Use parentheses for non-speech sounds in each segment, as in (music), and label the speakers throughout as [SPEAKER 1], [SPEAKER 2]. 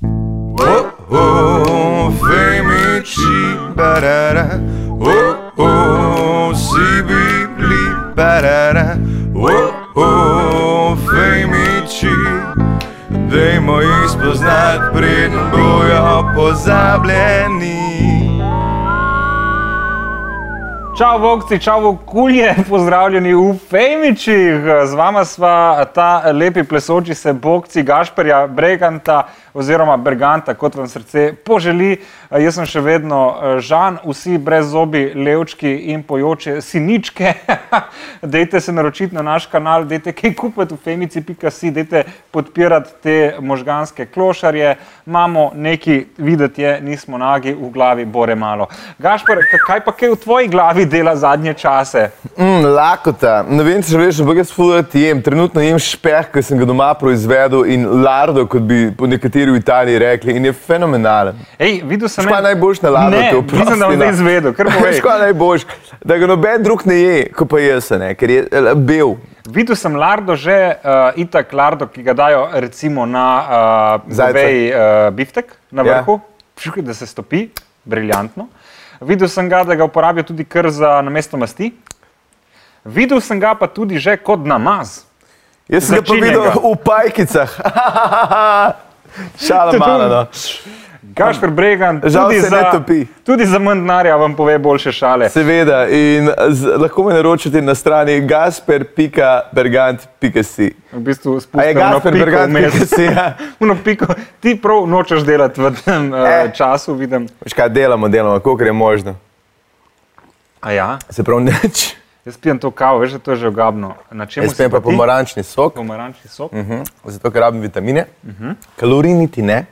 [SPEAKER 1] Oh, parara, oh oh, si bibli parara, oh oh, fejmiči, dajmo jih spoznat, preden bojo pozabljeni.
[SPEAKER 2] Čau, vokci, čau, vokulje, (laughs) pozdravljeni v Femičih. Z vama sva ta lepi plesoči se bokci Gašperja Breganta oziroma Berganta, kot vam srce poželi. Jaz sem še vedno eh, Žan, vsi brez zobi, levčki in pojoče siničke. (laughs) dejte se naročiti na naš kanal, dejte kaj kupiti v femici.si, dejte podpirati te možganske klošarje. Imamo neki, videti je, nismo nagi, v glavi bore malo. Gašper, k- kaj pa kaj v tvoji glavi dela zadnje čase?
[SPEAKER 3] Mm, lakota. Ne vem, če veš, ampak jaz fulat jem. Trenutno jem špeh, ki sem ga doma proizvedel in lardo, kot bi po nekateri v Italiji rekli, in je fenomenalen.
[SPEAKER 2] Ej, videl sem
[SPEAKER 3] Škoda
[SPEAKER 2] en-
[SPEAKER 3] najboljš na lardo,
[SPEAKER 2] Ne,
[SPEAKER 3] to
[SPEAKER 2] Mislim, da bom zdaj izvedel,
[SPEAKER 3] (laughs)
[SPEAKER 2] ker povej.
[SPEAKER 3] Škoda najboljš, da ga noben drug ne je, kot pa jaz, a ne, ker je eh, bel.
[SPEAKER 2] Videl sem lardo že, uh, itak lardo, ki ga dajo recimo na uh,
[SPEAKER 3] Zajce.
[SPEAKER 2] goveji uh, biftek na
[SPEAKER 3] Ja.
[SPEAKER 2] vrhu, yeah. da se stopi, briljantno. Videl sem ga, da ga uporabijo tudi kar za namesto masti. Videl sem ga pa tudi že kot namaz.
[SPEAKER 3] Jaz sem ga pa
[SPEAKER 2] Začinjen
[SPEAKER 3] videl
[SPEAKER 2] ga.
[SPEAKER 3] v pajkicah. (laughs) Šala malo. No.
[SPEAKER 2] Gašpr Bregan,
[SPEAKER 3] Žal
[SPEAKER 2] tudi
[SPEAKER 3] se ne
[SPEAKER 2] za,
[SPEAKER 3] topi.
[SPEAKER 2] tudi za manj denarja vam pove boljše šale.
[SPEAKER 3] Seveda, in z, lahko me naročite na strani gasper.bergant.si.
[SPEAKER 2] V bistvu
[SPEAKER 3] A je
[SPEAKER 2] spustimo na
[SPEAKER 3] Gasper
[SPEAKER 2] piko
[SPEAKER 3] Bergant,
[SPEAKER 2] vmes.
[SPEAKER 3] PKC,
[SPEAKER 2] (laughs)
[SPEAKER 3] ja.
[SPEAKER 2] Ono piko, ti prav nočeš delati v tem eh.
[SPEAKER 3] Eh.
[SPEAKER 2] času, vidim.
[SPEAKER 3] Veš kaj, delamo, delamo, koliko je možno.
[SPEAKER 2] A ja,
[SPEAKER 3] Se pravi, nič.
[SPEAKER 2] jaz pijem to kavo, veš, da to je že ogabno. Na čem
[SPEAKER 3] Jaz pijem pa pomarančni sok,
[SPEAKER 2] pomarančni sok.
[SPEAKER 3] mhm, zato ker rabim vitamine. Mhm. Kalorij niti ne,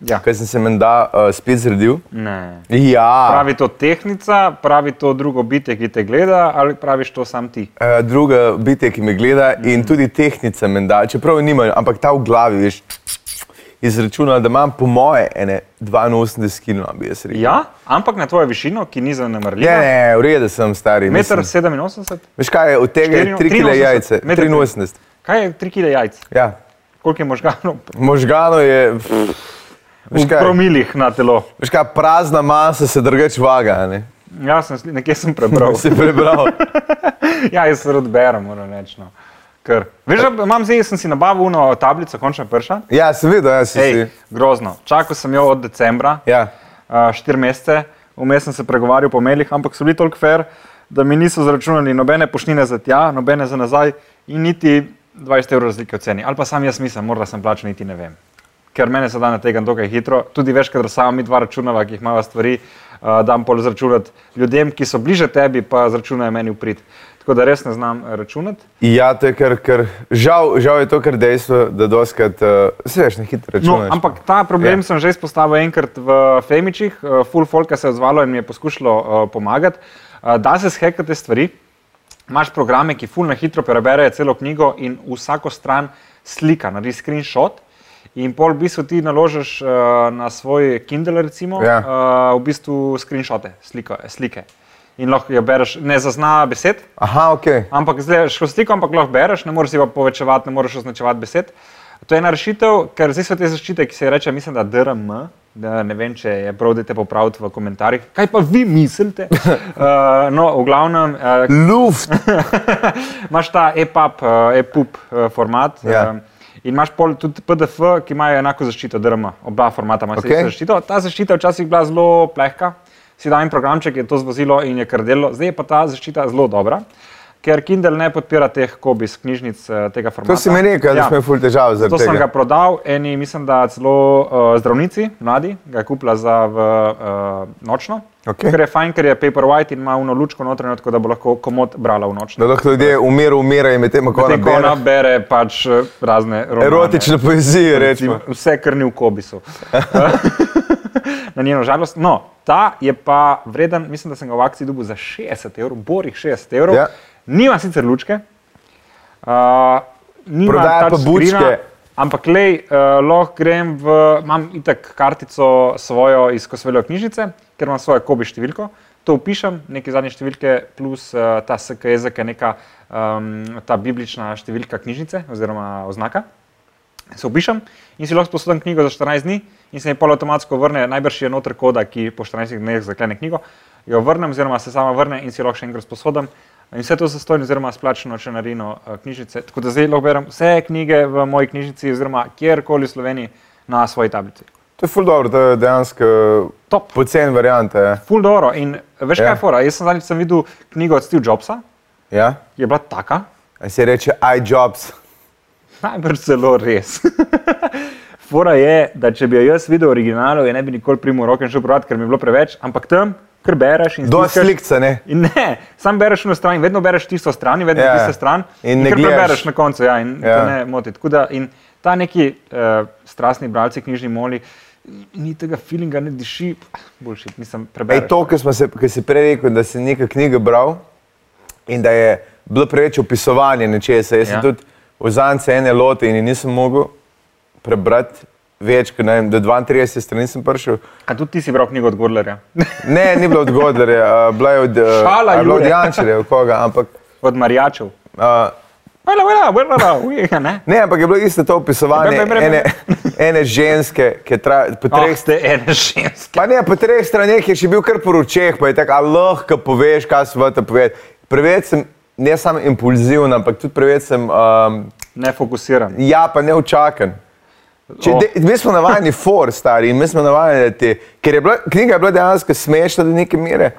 [SPEAKER 2] Ja.
[SPEAKER 3] ker sem se menda uh, spet zredil.
[SPEAKER 2] Ne.
[SPEAKER 3] Ja,
[SPEAKER 2] Pravi to tehnica, pravi to drugo bitje, ki te gleda, ali praviš to sam ti.
[SPEAKER 3] uh, druga bitja, ki me gleda in tudi tehnica menda, čeprav je nimajo, ampak ta v glavi, veš, izračunala, da imam po moje ene 82 kg, bi jaz rekel. Ja,
[SPEAKER 2] Ja, ampak na tvojo višino, ki ni
[SPEAKER 3] Ne,
[SPEAKER 2] zanemarljiva.
[SPEAKER 3] ne, v redu sem stari.
[SPEAKER 2] Meter
[SPEAKER 3] mislim.
[SPEAKER 2] 87.
[SPEAKER 3] Veš kaj, je, od tega je 3 kg
[SPEAKER 2] 84,
[SPEAKER 3] jajce,
[SPEAKER 2] meter
[SPEAKER 3] 83.
[SPEAKER 2] Kaj je 3 kg jajc?
[SPEAKER 3] Ja.
[SPEAKER 2] Koliko je možganov
[SPEAKER 3] Možgano je, pff, veš
[SPEAKER 2] v
[SPEAKER 3] (laughs) kaj,
[SPEAKER 2] promilih na telo?
[SPEAKER 3] veš kaj, prazna masa se drugače vaga. a Ne?
[SPEAKER 2] Ja, sem, sli- nekje sem
[SPEAKER 3] (laughs)
[SPEAKER 2] prebral.
[SPEAKER 3] Si prebral.
[SPEAKER 2] Ja, jaz se odberem, moram reči. No. Ker, veš, da imam zdaj, jaz sem si nabavil uno tablico, končna prša.
[SPEAKER 3] Ja, sem videl, ja, si
[SPEAKER 2] Ej,
[SPEAKER 3] si.
[SPEAKER 2] grozno. Čakal sem jo od decembra,
[SPEAKER 3] Ja.
[SPEAKER 2] a, štiri mesece, vmes sem se pregovarjal po mailih, ampak so bili toliko fair, da mi niso zaračunali nobene poštnine za tja, nobene za nazaj in niti 20 evrov razlike v ceni. Ali pa sam jaz mislim, morda sem plačal, niti ne vem. Ker mene se da na tega dokaj hitro, tudi več, kadar sama mi dva računava, ki jih imava stvari, uh, dam pol zračunati ljudem, ki so bliže tebi, pa zračunajo meni v prid. Tako da res ne znam eh, računati.
[SPEAKER 3] Ja, to je kar, kar žal, žal je to kar dejstvo, da doskrat, uh, se veš, na hitro
[SPEAKER 2] No,
[SPEAKER 3] računaš.
[SPEAKER 2] ampak ta problem
[SPEAKER 3] Ja.
[SPEAKER 2] sem že izpostavil enkrat v Femičih, eh, full folka se je odzvalo in mi je poskušalo eh, pomagati. Eh, Da se shekate stvari, imaš programe, ki full na hitro preberejo celo knjigo in vsako stran slika, naredi screenshot. In pol v bistvu ti naložiš eh, na svoj Kindle, recimo,
[SPEAKER 3] Ja.
[SPEAKER 2] eh, v bistvu screenshote, sliko, slike. In lahko jo bereš, ne zazna besed,
[SPEAKER 3] Aha, ok.
[SPEAKER 2] Ampak zdaj šlo sliko, ampak lahko bereš, ne moreš si pa povečevati, ne moreš označevati besed. To je ena rešitev, ker zdaj so te zaščite, ki se ji reče, mislim, da DRM. Da ne vem, če je prav, da te popravite v komentarjih. Kaj pa vi mislite? Uh, no, v glavnem, uh,
[SPEAKER 3] Luft.
[SPEAKER 2] imaš ta EPUB, uh, EPUB uh, format.
[SPEAKER 3] Ja.
[SPEAKER 2] Um, In imaš pol tudi PDF, ki imajo enako zaščito, DRM, oba formata imaš
[SPEAKER 3] Okej.
[SPEAKER 2] okay. zaščito. Ta zaščita je včasih bila zelo plehka, si da en programček je to zvozilo in je kar delo, zdaj je pa ta zaščita zelo dobra, ker Kindle ne podpira teh kobis knjižnic eh, tega formata.
[SPEAKER 3] To si mi rekel, da smo imeli ful težav zaradi
[SPEAKER 2] Ja. To sem ga
[SPEAKER 3] tega.
[SPEAKER 2] prodal, eni mislim, da celo uh, zdravnici, mladi, ga je kupila za v, uh, nočno.
[SPEAKER 3] Okej.
[SPEAKER 2] Ker je fajn, ker je paper white in ima uno lučko notranjo, tako da bo lahko komod brala v nočno.
[SPEAKER 3] Da lahko ljudje v miru umirajo med tem, kako
[SPEAKER 2] Medtem ko ona
[SPEAKER 3] naprej.
[SPEAKER 2] bere pač eh, razne romane.
[SPEAKER 3] Erotične poezije, rečemo.
[SPEAKER 2] Vse, kar ni v kobisu. (laughs) Na njeno žalost. No, ta je pa vreden, mislim, da sem ga v akciji dobil za 60 evrov, borih 60 evrov.
[SPEAKER 3] Ja.
[SPEAKER 2] Nima sicer lučke, uh, nima
[SPEAKER 3] Prodaja pa
[SPEAKER 2] touchscreena,
[SPEAKER 3] bučke.
[SPEAKER 2] Ampak, lej, uh, lahko grem v, imam itak kartico svojo iz Kosveljo knjižnice, ker imam svojo kobi številko. To upišem, neke zadnje številke, plus uh, ta SKZ, ki je neka um, ta biblična številka knjižnice oziroma oznaka se obišem in si lahko sposodim knjigo za 14 dni in se mi pol avtomatsko vrne, najbrž je noter koda, ki po 14 dneh zaklene knjigo jo vrnem, oziroma se sama vrne in si lahko še enkrat sposodam. In vse to zastojno, oziroma splačeno članarino eh, knjižnice. Tako da zdaj lahko berem vse knjige v moji knjižnici, oziroma kjerkoli v Sloveniji na svoji tablici.
[SPEAKER 3] To je ful dobro, to je dejansko
[SPEAKER 2] Top.
[SPEAKER 3] pocen varianta. Ja.
[SPEAKER 2] Ful dobro. In veš,
[SPEAKER 3] Ja.
[SPEAKER 2] kaj je fora? Jaz sem zadnjič sem videl knjigo od Steve Jobsa,
[SPEAKER 3] Ja?
[SPEAKER 2] je bila taka,
[SPEAKER 3] A se reče iJobs.
[SPEAKER 2] najbrž celo res. (laughs) fora je, da če bi jo jaz videl v originalu, je ne bi nikoli primil roke in šel brati, ker mi je bilo preveč, ampak tam, ker bereš in
[SPEAKER 3] Do
[SPEAKER 2] stiskaš-
[SPEAKER 3] slikca, ne?
[SPEAKER 2] In ne, sam bereš eno stran, in vedno bereš tisto stran, in vedno
[SPEAKER 3] Ja.
[SPEAKER 2] yeah. tisto stran.
[SPEAKER 3] In ne
[SPEAKER 2] kar
[SPEAKER 3] gledaš.
[SPEAKER 2] prebereš na koncu, ja, in
[SPEAKER 3] Ja.
[SPEAKER 2] yeah. ne moti. Tako Da, in ta neki uh, strastni bralci, knjižni moli, ni tega feelinga, ne diši, boljši, nisem prebral.
[SPEAKER 3] Ej, to, kar smo se, kar si prej rekel, da si neka knjiga bral in da je bilo preveč opisovanja nečesa. Jaz ja. sem
[SPEAKER 2] Ja.
[SPEAKER 3] tudi vzance ene lote in je nisem mogel prebrati več, kot ne vem, do 32 strani sem prišel.
[SPEAKER 2] A tudi ti si bral knjigo od Gorlerja,
[SPEAKER 3] Ne, ni bilo od Godlerja, uh, bila je od, uh,
[SPEAKER 2] Šala,
[SPEAKER 3] a je bila od
[SPEAKER 2] Jure.
[SPEAKER 3] Jančarja, od koga, ampak,
[SPEAKER 2] (laughs) od Marjačev.
[SPEAKER 3] uh,
[SPEAKER 2] Vela, vela, vela, ujega, ne.
[SPEAKER 3] ne, ampak je bilo isto to opisovanje
[SPEAKER 2] Bre, bre, bre, bre.
[SPEAKER 3] ene, (laughs) ene ženske, ki je tra- po
[SPEAKER 2] Oh,
[SPEAKER 3] treh
[SPEAKER 2] ste ene ženske.
[SPEAKER 3] Pa ne, po treh straneh je še bil kar poročeh, pa je tako, a lahko poveš, kaj se vata povedati. Preveč sem, ne samo impulziven, ampak tudi preveč sem, um,
[SPEAKER 2] Ne fokusiram.
[SPEAKER 3] ja, pa neočakan. Če,
[SPEAKER 2] Oh.
[SPEAKER 3] de, mi smo navadni for, stari, in mi smo navadni, da ti, ker je bila, knjiga je bila dejansko smešna do neke mere,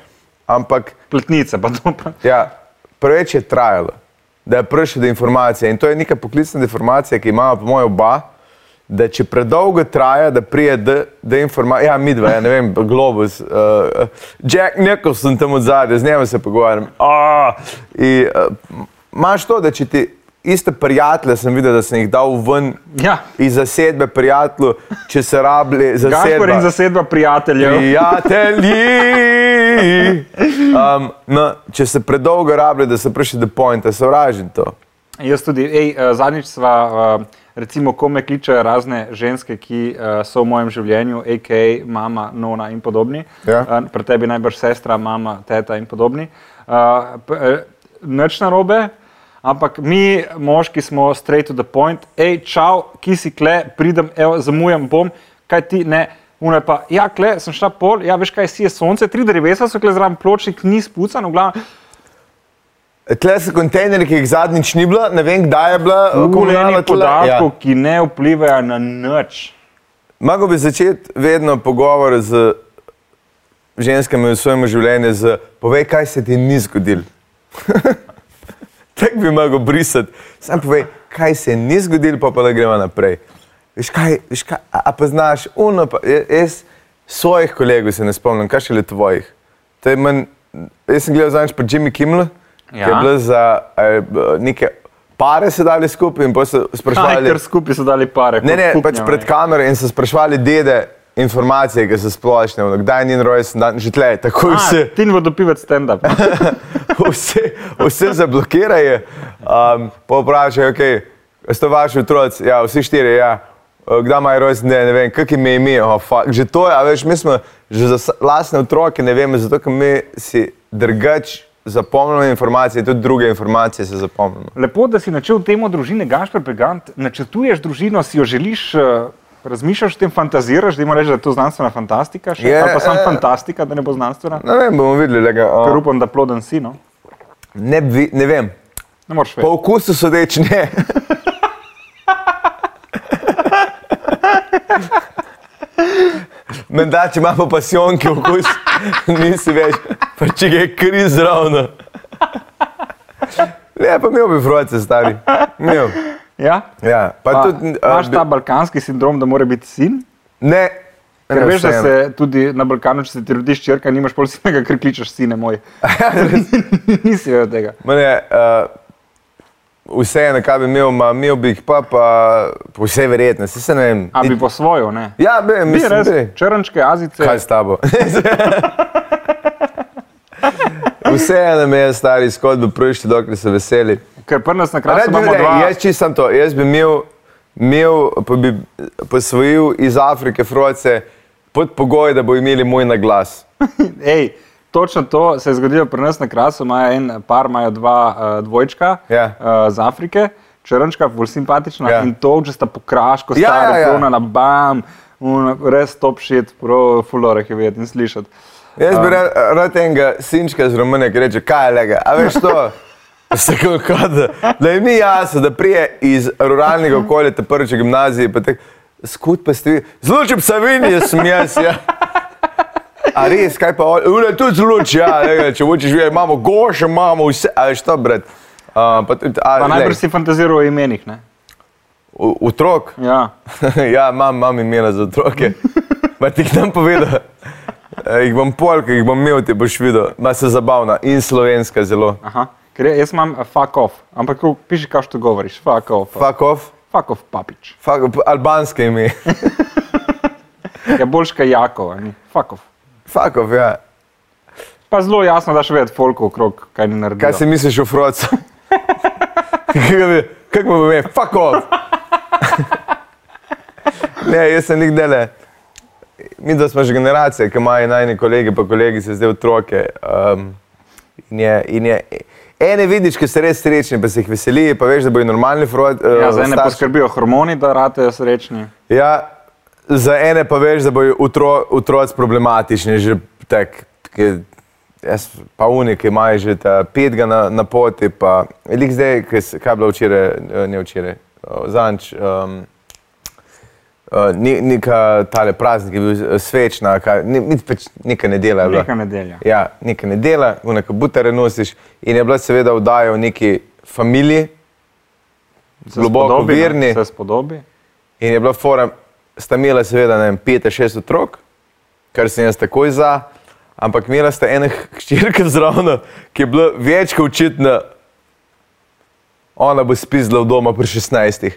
[SPEAKER 3] ampak
[SPEAKER 2] Pletnice, pa to pa.
[SPEAKER 3] ja, preveč je trajalo, da je prišel do informacije. In to je neka poklicna deformacija, ki ima, po mojem, oba. Da če predolgo traja, da pride do- do informacije, ja, mi dva, ja, ne vem, Globus, uh, Jack Nicholson tam od zadaj, z njim se pogovarjam. Ah, in, uh, Imáš to, da če ti iste prijatelje sem videl, da sem jih dal ven
[SPEAKER 2] Ja.
[SPEAKER 3] iz zasedbe prijatelju, če se rabili
[SPEAKER 2] Gašpor
[SPEAKER 3] zasedba.
[SPEAKER 2] in zasedba prijateljev.
[SPEAKER 3] Prijatelji. Um, no, če se predolgo rablja, da se prišli do pointa, sovražim to.
[SPEAKER 2] Jaz tudi, ej, eh, zadnjič sva, eh, recimo, ko me kličejo razne ženske, ki eh, so v mojem življenju, a.k.a. mama, nona in podobni.
[SPEAKER 3] Ja.
[SPEAKER 2] Eh, Pri tebi najbrž sestra, mama, teta in podobni. Eh, Noč narobe, ampak mi, moški, smo straight to the point, hej, čau, ki si kle, pridem, evo, zamujam bom, kaj ti ne. Une pa, ja, kle, sem šla pol, ja, veš kaj, si je sonce, tri drevesa so kle zraven, pločnik ni spucan, v glavnem.
[SPEAKER 3] E, Tle so kontejnerji, ki jih zadnjič ni bilo, ne vem kdaj je bila
[SPEAKER 2] Kuleni
[SPEAKER 3] komunalna tule.
[SPEAKER 2] podatkov, ja. ki ne vplivajo na nič.
[SPEAKER 3] Mago bi začeti vedno pogovor z ženskami v svojem življenju z povej, kaj se ti ni zgodil. (laughs) Tako bi mogel brisati. Sam povej, kaj se ni zgodil, pa pa da gremo naprej. Veš kaj, veš kaj, a, a pa znaš, uno, pa, ja- jaz svojih kolegov se ne spomnim, kaj šele tvojih. To je manj, jaz sem gledal zadnjič pri Jimmy Kimmel, ja. ki je
[SPEAKER 2] Ja.
[SPEAKER 3] bila za eh, b- neke pare se dali skupaj in pa so
[SPEAKER 2] Aj,
[SPEAKER 3] sprašvali,
[SPEAKER 2] ker skupaj so dali pare.
[SPEAKER 3] Ne,
[SPEAKER 2] kot
[SPEAKER 3] ne,
[SPEAKER 2] kupnjo,
[SPEAKER 3] pač pred
[SPEAKER 2] ne.
[SPEAKER 3] kamero in so sprašvali dede informacije, ki so splošne, ono, kdaj je njen rojsten dan, že tle, tako
[SPEAKER 2] A,
[SPEAKER 3] vse,
[SPEAKER 2] Tin vodopivec stand-up. (laughs)
[SPEAKER 3] vse, vse zablokirajo. Um, pa vprašajo, okay, ste vaši otroci, ja, vsi štiri, ja. Eh, Kdaj imajo rojsten dan, ne vem, kak ime ime, oh, fuck. že to je, a veš, mi smo že za sa- lastne otroke, ne vemo, zato ker mi si drgač zapomnimo informacije, tudi druge informacije se zapomnimo.
[SPEAKER 2] Lepo, da si načel temo družine Gašper Pegant. Načrtuješ družino, si jo želiš, eh, razmišljaš o tem, fantaziraš, da jim rečeš, da je to znanstvena fantastika, še
[SPEAKER 3] Je,
[SPEAKER 2] yeah, pa samo
[SPEAKER 3] eh. No.
[SPEAKER 2] fantastika, da ne bo znanstvena.
[SPEAKER 3] Ne vem, bomo videli, le ga.
[SPEAKER 2] Ker
[SPEAKER 3] Um,
[SPEAKER 2] upam, da ploden si, no.
[SPEAKER 3] ne, bi- ne vem.
[SPEAKER 2] Ne moreš
[SPEAKER 3] Po
[SPEAKER 2] več.
[SPEAKER 3] okusu sodeč ne. Menda, če imamo pasijonki okus, nisi več, pa če ga je kriz ravno. Ne, pa imel bi vroce, stari. Imel.
[SPEAKER 2] Ja?
[SPEAKER 3] Ja, pa,
[SPEAKER 2] Pa,
[SPEAKER 3] tudi, a,
[SPEAKER 2] Imaš
[SPEAKER 3] bi-
[SPEAKER 2] ta balkanski sindrom, da mora biti sin?
[SPEAKER 3] Ne,
[SPEAKER 2] Ker
[SPEAKER 3] ne,
[SPEAKER 2] veš, da
[SPEAKER 3] vseeno.
[SPEAKER 2] se tudi na Balkanu, če se ti rodiš črka, nimaš pol sinega, ker kličeš sine
[SPEAKER 3] (laughs)
[SPEAKER 2] moj. Nisi vejo tega.
[SPEAKER 3] Mene, uh, vseeno, kaj bi imel, ma, imel bi jih pa, pa po vsej verjetnosti, se ne vem.
[SPEAKER 2] A bi posvojil, ne?
[SPEAKER 3] Ja, bi,
[SPEAKER 2] Bi
[SPEAKER 3] mislim,
[SPEAKER 2] res,
[SPEAKER 3] bi.
[SPEAKER 2] črnčke, azice.
[SPEAKER 3] Kaj s tabo? (laughs) Vseeno me je stari skodbi prišli, dokler so veseli.
[SPEAKER 2] Ker pri nas na
[SPEAKER 3] Rad
[SPEAKER 2] kraju
[SPEAKER 3] bi,
[SPEAKER 2] imamo
[SPEAKER 3] ne,
[SPEAKER 2] dva.
[SPEAKER 3] jaz čistam to, jaz bi imel, imel pa bi posvojil iz Afrike froce pod pogoj, da bo imeli moj naglas.
[SPEAKER 2] (laughs) Ej, točno to se je zgodilo pri nas na krasu, imajo en par, imajo dva uh, dvojčka
[SPEAKER 3] Ja.
[SPEAKER 2] uh, z Afrike, črnčka, bolj simpatična
[SPEAKER 3] Ja.
[SPEAKER 2] in to, če sta pokraško
[SPEAKER 3] Ja,
[SPEAKER 2] stara,
[SPEAKER 3] ja, ja.
[SPEAKER 2] krona na bam, un, res top shit, prav fuloreh je videti in slišati.
[SPEAKER 3] Jaz bi rad, rad enega sinčka z Romunije, ki reče, kaj je lega, a veš to. (laughs) Tako kot, da- da jim ni jasno, da prije iz ruralnega okolja, te prvič v gimnaziji, pa tako, skut pa ste vi, zlučim Savini, jaz sem jaz. Ja. A res, kaj pa oni, ure tudi zluči, ja, lega, če hočeš živeti, imamo goše, imamo vse, a veš to, brat. Uh, pa tudi, a,
[SPEAKER 2] Pa najbrž
[SPEAKER 3] glej,
[SPEAKER 2] si fantaziral o imenih, ne?
[SPEAKER 3] o- otrok,
[SPEAKER 2] Ja.
[SPEAKER 3] (laughs) ja, imam, imam imena za otroke. Ma ti jih tam povedal. Eh, Jih bom pol, ki jih bom imel, ti boš videl. Ma se zabavna in slovenska zelo.
[SPEAKER 2] Aha. Ker je- jaz imam eh, fuck off, ampak ko piši, kaj to govoriš, fuck off.
[SPEAKER 3] Fuck off,
[SPEAKER 2] Fuck off, papič.
[SPEAKER 3] fuck, p- albanske ime. (laughs)
[SPEAKER 2] Je Ja, boljš kaj Jakov, a ni? Fuck off.
[SPEAKER 3] Fuck off, ja.
[SPEAKER 2] Pa zelo jasno daš vedeti folku okrog, kaj ni naredil.
[SPEAKER 3] Kaj si misliš o frocu? Kako bo ime? Fuck off. ne, jaz sem nikdaj le. Mi, da smo že generacije, ki imajo najni kolegi, pa kolegi se zdaj otroke. Um, in je, in je, ene vidiš, ki so res srečni, pa se jih veseli, pa veš, da bojo normalni frot. Uh,
[SPEAKER 2] Ja, zdaj ne poskrbijo hormoni, da ratejo srečni.
[SPEAKER 3] Ja, za ene pa veš, da bojo otro, otroci problematični, že tak. ki- Jaz, pa oni, ki imajo že ta petega na, na poti, pa lik zdaj, ki s- kaj je bilo včeraj, eh, ne včeraj, zanč. Um, Uh, ni, neka tale praznik je bil eh, svečna, kaj, ni, ni, pač neka nedelja. je bila.
[SPEAKER 2] Neka nedelja.
[SPEAKER 3] Ja, neka nedelja, v neko butare nosiš in je bila seveda vdaja v neki familiji,
[SPEAKER 2] Se
[SPEAKER 3] Globoko
[SPEAKER 2] spodobi, ne?
[SPEAKER 3] verni.
[SPEAKER 2] Se spodobi.
[SPEAKER 3] In je bila fora, sta imela seveda ne vem, pet, šest otrok, kar sem jaz takoj za, ampak imela sta ena hčerka zraven, ki je bila več kot očitna, ona bo spizla v doma pri 16.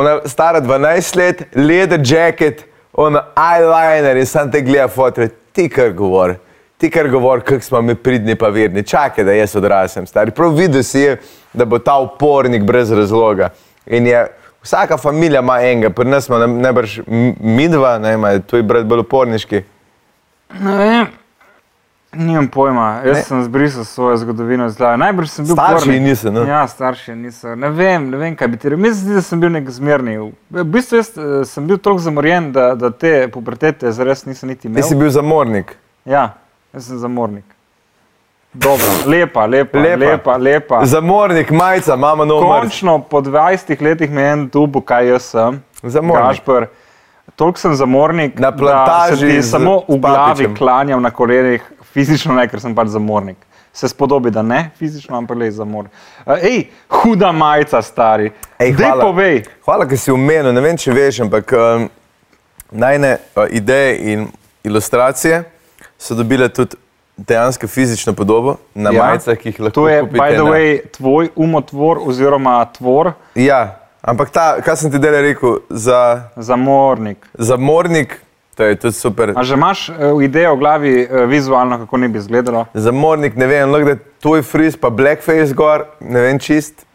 [SPEAKER 3] Ona je stara 12 let, leder jacket, ona eyeliner in sam te gleda fotre, ti kar govor. Ti kar govor, kako smo mi pridni pa verni, čakaj, da jaz odrasem, stari. Prav videl si je, da bo ta upornik brez razloga. In je, vsaka familija ima enega, pri nas smo ne- najbrž m- midva, ne ima, tu je brat bolj uporniški.
[SPEAKER 2] Ne vem. Nimam pojma, jaz
[SPEAKER 3] Ne.
[SPEAKER 2] ne. sem zbrisal svojo zgodovino iz glave. Najbrž sem bil
[SPEAKER 3] Starši
[SPEAKER 2] upornik.
[SPEAKER 3] niso, ne?
[SPEAKER 2] Ja, starši niso. Ne vem, ne vem kaj bi ti rekel. Mislim, da sem bil nek zmerni. V bistvu jaz, eh, sem bil toliko zamorjen, da, da te pubertete zares nisem niti
[SPEAKER 3] Ti
[SPEAKER 2] imel.
[SPEAKER 3] si bil zamornik.
[SPEAKER 2] Ja, jaz sem zamornik. Dobro, lepa, lepa,
[SPEAKER 3] Lepa.
[SPEAKER 2] lepa, lepa. lepa.
[SPEAKER 3] Zamornik, majica, mama no marš.
[SPEAKER 2] Končno po 20 letih me je en dubu, kaj jaz sem.
[SPEAKER 3] Zamornik.
[SPEAKER 2] Gašper, toliko sem zamornik,
[SPEAKER 3] Na
[SPEAKER 2] da se
[SPEAKER 3] plantaži
[SPEAKER 2] ti
[SPEAKER 3] z
[SPEAKER 2] samo v
[SPEAKER 3] papičem.
[SPEAKER 2] glavi klanjam na kolenih, fizično ne, ker sem pač zamornik. Se spodobi, da ne, fizično, ampak le zamor. Uh, ej, huda majica, stari.
[SPEAKER 3] Ej,
[SPEAKER 2] Daj
[SPEAKER 3] hvala.
[SPEAKER 2] povej,
[SPEAKER 3] Hvala, ker si omenil. Ne vem, če veš, ampak um, najne uh, ideje in ilustracije so dobile tudi dejansko fizično podobo na ja, majicah, ki jih lahko
[SPEAKER 2] To je,
[SPEAKER 3] kupite.
[SPEAKER 2] by the
[SPEAKER 3] na-
[SPEAKER 2] way, tvoj umotvor oziroma tvor,
[SPEAKER 3] Ja, ampak ta, kaj sem ti delal rekel, za
[SPEAKER 2] zamornik.
[SPEAKER 3] zamornik, to je tudi super.
[SPEAKER 2] A že imaš uh, idejo v glavi uh, vizualno, kako ne bi izgledalo?
[SPEAKER 3] Zamornik, ne vem, lahko da tvoj friz pa blackface gor, ne vem čist.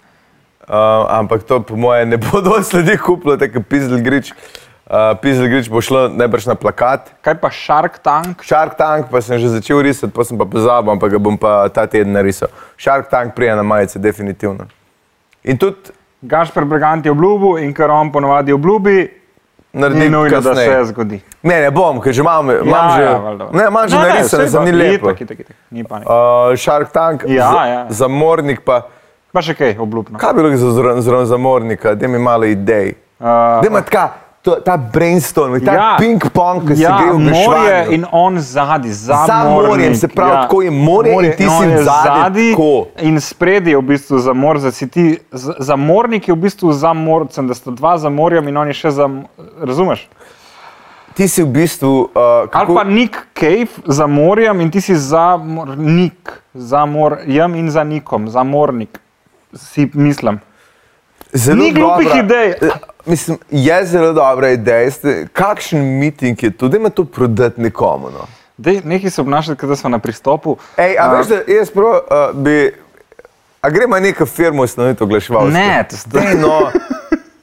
[SPEAKER 3] Uh, ampak to, po moje, ne bo (laughs) dosti ljudi kupilo, tako pizzel grič. Uh, pizzel grič bo šlo najbrž na plakat.
[SPEAKER 2] Kaj pa Shark Tank?
[SPEAKER 3] Shark Tank pa sem že začel risati, pa sem pa pozabil, ampak ga bom pa ta teden narisal. Shark Tank prije na majice, definitivno. In tudi
[SPEAKER 2] Gašpor Brigant je obljubil in ker on ponovadi obljubi, ni
[SPEAKER 3] naredim
[SPEAKER 2] nujno, da
[SPEAKER 3] kasneje.
[SPEAKER 2] se zgodi. Ja,
[SPEAKER 3] Ne, ne bom, ker že imam, imam že,
[SPEAKER 2] valjda. No,
[SPEAKER 3] ne, imam že
[SPEAKER 2] saj
[SPEAKER 3] narisane,
[SPEAKER 2] pa,
[SPEAKER 3] sem ni lepo.
[SPEAKER 2] Itak, itak, itak. Ni panike.
[SPEAKER 3] Uh, Shark Tank,
[SPEAKER 2] Ja,
[SPEAKER 3] za-
[SPEAKER 2] ja.
[SPEAKER 3] zamornik pa.
[SPEAKER 2] Pa še kaj, obljubno.
[SPEAKER 3] Kaj bi lahko za zra- zraven zamornika, da mi malo idej.
[SPEAKER 2] Uh,
[SPEAKER 3] Da ima ta, ta brainstorming, ta ja, ping-pong, ki se
[SPEAKER 2] ja,
[SPEAKER 3] gre v
[SPEAKER 2] morje
[SPEAKER 3] Gešvanju.
[SPEAKER 2] in on zadi, za,
[SPEAKER 3] Za morjem,
[SPEAKER 2] mornik,
[SPEAKER 3] se pravi, tako je morje in ti
[SPEAKER 2] in on
[SPEAKER 3] si
[SPEAKER 2] je
[SPEAKER 3] zadaj,
[SPEAKER 2] zadaj
[SPEAKER 3] tako.
[SPEAKER 2] In spredi je v bistvu zamor, da si ti, z- zamornik je v bistvu zamorcem, da sta dva za morjem in on je še za, razumeš?
[SPEAKER 3] Ti si v bistvu. Uh,
[SPEAKER 2] Ali pa nik cave za morjem in ti si zamornik, za morjem in za nikom, zamornik, si mislim.
[SPEAKER 3] Zelo
[SPEAKER 2] Ni glupih
[SPEAKER 3] dobra-
[SPEAKER 2] idej.
[SPEAKER 3] Eh, Mislim, je zelo dobra ideja. Ste, kakšen miting je to, da ima to prodati nekomu? No?
[SPEAKER 2] Dej, nekaj se obnašati, kot da smo na pristopu.
[SPEAKER 3] Ej, a, a
[SPEAKER 2] Eh,
[SPEAKER 3] veš, da jaz prav uh, bi. A gremo neka firma ustanoviti oglaševalce?
[SPEAKER 2] Ne, to sta-
[SPEAKER 3] Daj,
[SPEAKER 2] (laughs)
[SPEAKER 3] no.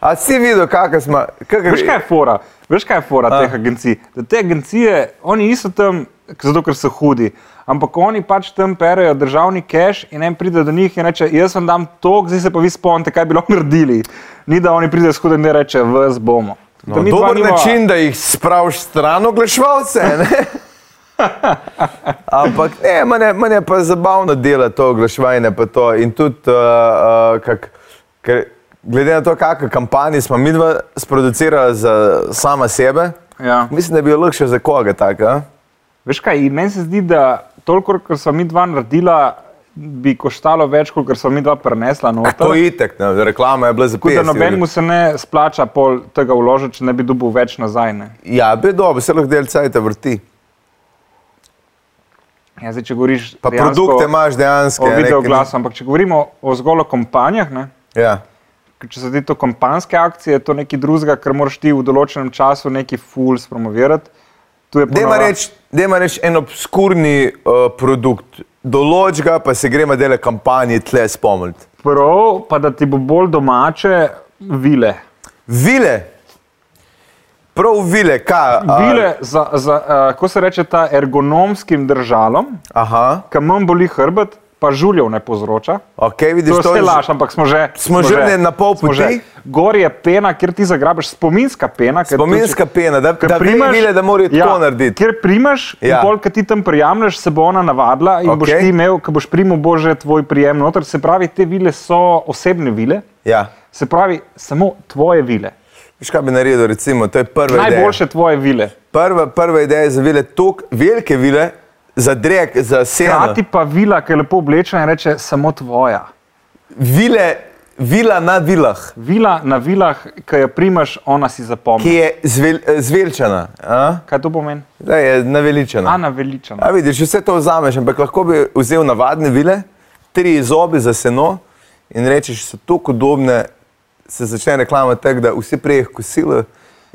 [SPEAKER 3] A si videl, kakšna smo? Kakr...
[SPEAKER 2] Veš kaj je fora, veš kaj je fora
[SPEAKER 3] A.
[SPEAKER 2] teh agencij? Da te agencije, oni niso tam k- zato, ker so hudi, ampak oni pač tam perejo državni cash in en pride do njih in reče, jaz vam dam to, zdaj se pa vi spomnite, kaj bi lahko naredili. Ni da oni pridejo shude in ne reče, vas bomo. Tako da
[SPEAKER 3] No,
[SPEAKER 2] midva
[SPEAKER 3] dober
[SPEAKER 2] niva- (laughs)
[SPEAKER 3] način, da jih spraviš stran oglaševalce. ne? Ampak ne, mene, mene pa zabavno dela to oglaševanje. pa To. In tudi, uh, uh, kak, ker, glede na to, kakšne kampanje smo mi dva sproducirali za sama sebe,
[SPEAKER 2] Ja.
[SPEAKER 3] mislim, da bi bilo lahko še za koga tako.
[SPEAKER 2] Veš kaj, in meni se zdi, da toliko, kot smo mi dva naredila, bi koštalo več, kot smo mi dva prenesla
[SPEAKER 3] To
[SPEAKER 2] noter.
[SPEAKER 3] je itek, ne? reklama je bila za
[SPEAKER 2] Tako da
[SPEAKER 3] 50
[SPEAKER 2] nobenemu se ne splača pol tega vložiti, če ne bi dobil več nazaj. Ne?
[SPEAKER 3] Ja, bi dobro, se lahko del cajt vrti.
[SPEAKER 2] Ja, zdaj, če govoriš
[SPEAKER 3] Pa
[SPEAKER 2] dejansko
[SPEAKER 3] produkte imaš dejansko.
[SPEAKER 2] o
[SPEAKER 3] ja,
[SPEAKER 2] video
[SPEAKER 3] nekaj-
[SPEAKER 2] glasu, ampak če govorimo o zgolj o kompanjah, ne?
[SPEAKER 3] Ja.
[SPEAKER 2] ker če se ti to kompanske akcije, je to nekaj drugega, ker moraš ti v določenem času neki full spromovirati. Tu je
[SPEAKER 3] Dajmo
[SPEAKER 2] ponova-
[SPEAKER 3] reči reč, en obskurni uh, produkt, določ ga pa se gremo dele kampanje tle spomniti.
[SPEAKER 2] prav, pa da ti bo bolj domače vile.
[SPEAKER 3] Vile, prav vile, kaj? a-
[SPEAKER 2] Vile, za, za, uh, ko se reče ta ergonomskim držalom,
[SPEAKER 3] Aha,
[SPEAKER 2] ki manj boli hrbet, pa žuljev ne povzroča.
[SPEAKER 3] ok, vidiš,
[SPEAKER 2] To
[SPEAKER 3] to
[SPEAKER 2] je
[SPEAKER 3] že-
[SPEAKER 2] laž, ampak smo že.
[SPEAKER 3] Smo že ne na pol
[SPEAKER 2] smo
[SPEAKER 3] poti?
[SPEAKER 2] že. Gor je pena, kjer ti zagrabiš spominska pena. ker
[SPEAKER 3] Spominska
[SPEAKER 2] tudi-
[SPEAKER 3] pena, da,
[SPEAKER 2] ker
[SPEAKER 3] da primaš, vile, da morajo ja, to narediti.
[SPEAKER 2] Ker primaš, ja.
[SPEAKER 3] Ja.
[SPEAKER 2] bolj, ki ti tam prijameš, se bo ona navadila in okay. boš
[SPEAKER 3] Okej.
[SPEAKER 2] ti imel, ki boš primo, bo že tvoj prijem noter. Se pravi, te vile so osebne vile,
[SPEAKER 3] Ja.
[SPEAKER 2] se pravi, samo tvoje vile.
[SPEAKER 3] Veš, kaj bi naredil, recimo, to Torej, je prva
[SPEAKER 2] Najboljše
[SPEAKER 3] ideja.
[SPEAKER 2] tvoje vile.
[SPEAKER 3] Prva, prva ideja je za vile, tok velike vile, za drek, za sena.
[SPEAKER 2] Hrati pa vila, ki je lepo oblečena in reče samo tvoja.
[SPEAKER 3] Vile, vila na vilah,
[SPEAKER 2] Vila na vilah, ki jo primaš, ona si
[SPEAKER 3] ki
[SPEAKER 2] zapomni.
[SPEAKER 3] je zvel, eh, zvelčana, a?
[SPEAKER 2] Kaj to pomeni?
[SPEAKER 3] da je naveličana.
[SPEAKER 2] Ana veličana.
[SPEAKER 3] Ja. A vidiš, vse to vzameš, ampak lahko bi vzel navadne vile, tri zobe za seno in rečeš, so tako podobne, se začne reklama tako, da vsi prijeh kosilo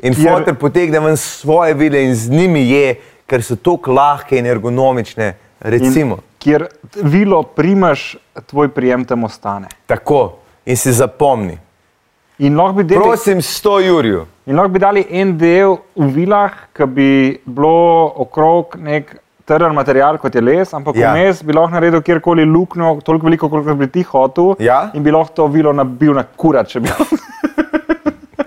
[SPEAKER 3] in
[SPEAKER 2] Kjer-
[SPEAKER 3] fotor potegne ven svoje vile in z njimi je, ker so tako lahke in ergonomične, recimo. In...
[SPEAKER 2] Kjer t- vilo primaš, tvoj prijem tam ostane.
[SPEAKER 3] Tako. In si zapomni.
[SPEAKER 2] In lahko bi delali,
[SPEAKER 3] Prosim, 100 jurjev.
[SPEAKER 2] in lahko bi dali en del v vilah, ki bi bilo okrog nek trden material, kot je les, ampak
[SPEAKER 3] Ja.
[SPEAKER 2] vmes bi lahko naredil kjerkoli luknjo, toliko veliko, koliko bi ti hotel,
[SPEAKER 3] Ja.
[SPEAKER 2] in bi lahko to vilo nabil na kurat, če
[SPEAKER 3] (laughs)
[SPEAKER 2] bi Ne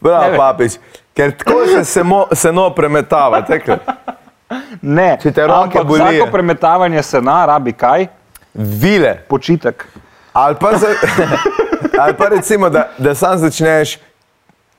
[SPEAKER 3] Bravo,
[SPEAKER 2] vem.
[SPEAKER 3] papič. Ker tako se samo, seno premetava. (laughs) tako.
[SPEAKER 2] Ne,
[SPEAKER 3] Če te roke
[SPEAKER 2] ampak
[SPEAKER 3] bolijo.
[SPEAKER 2] Vsako premetavanje sena rabi kaj?
[SPEAKER 3] Vile.
[SPEAKER 2] Počitek.
[SPEAKER 3] Ali pa,
[SPEAKER 2] (laughs)
[SPEAKER 3] za, ali pa recimo, da, da sam začneš,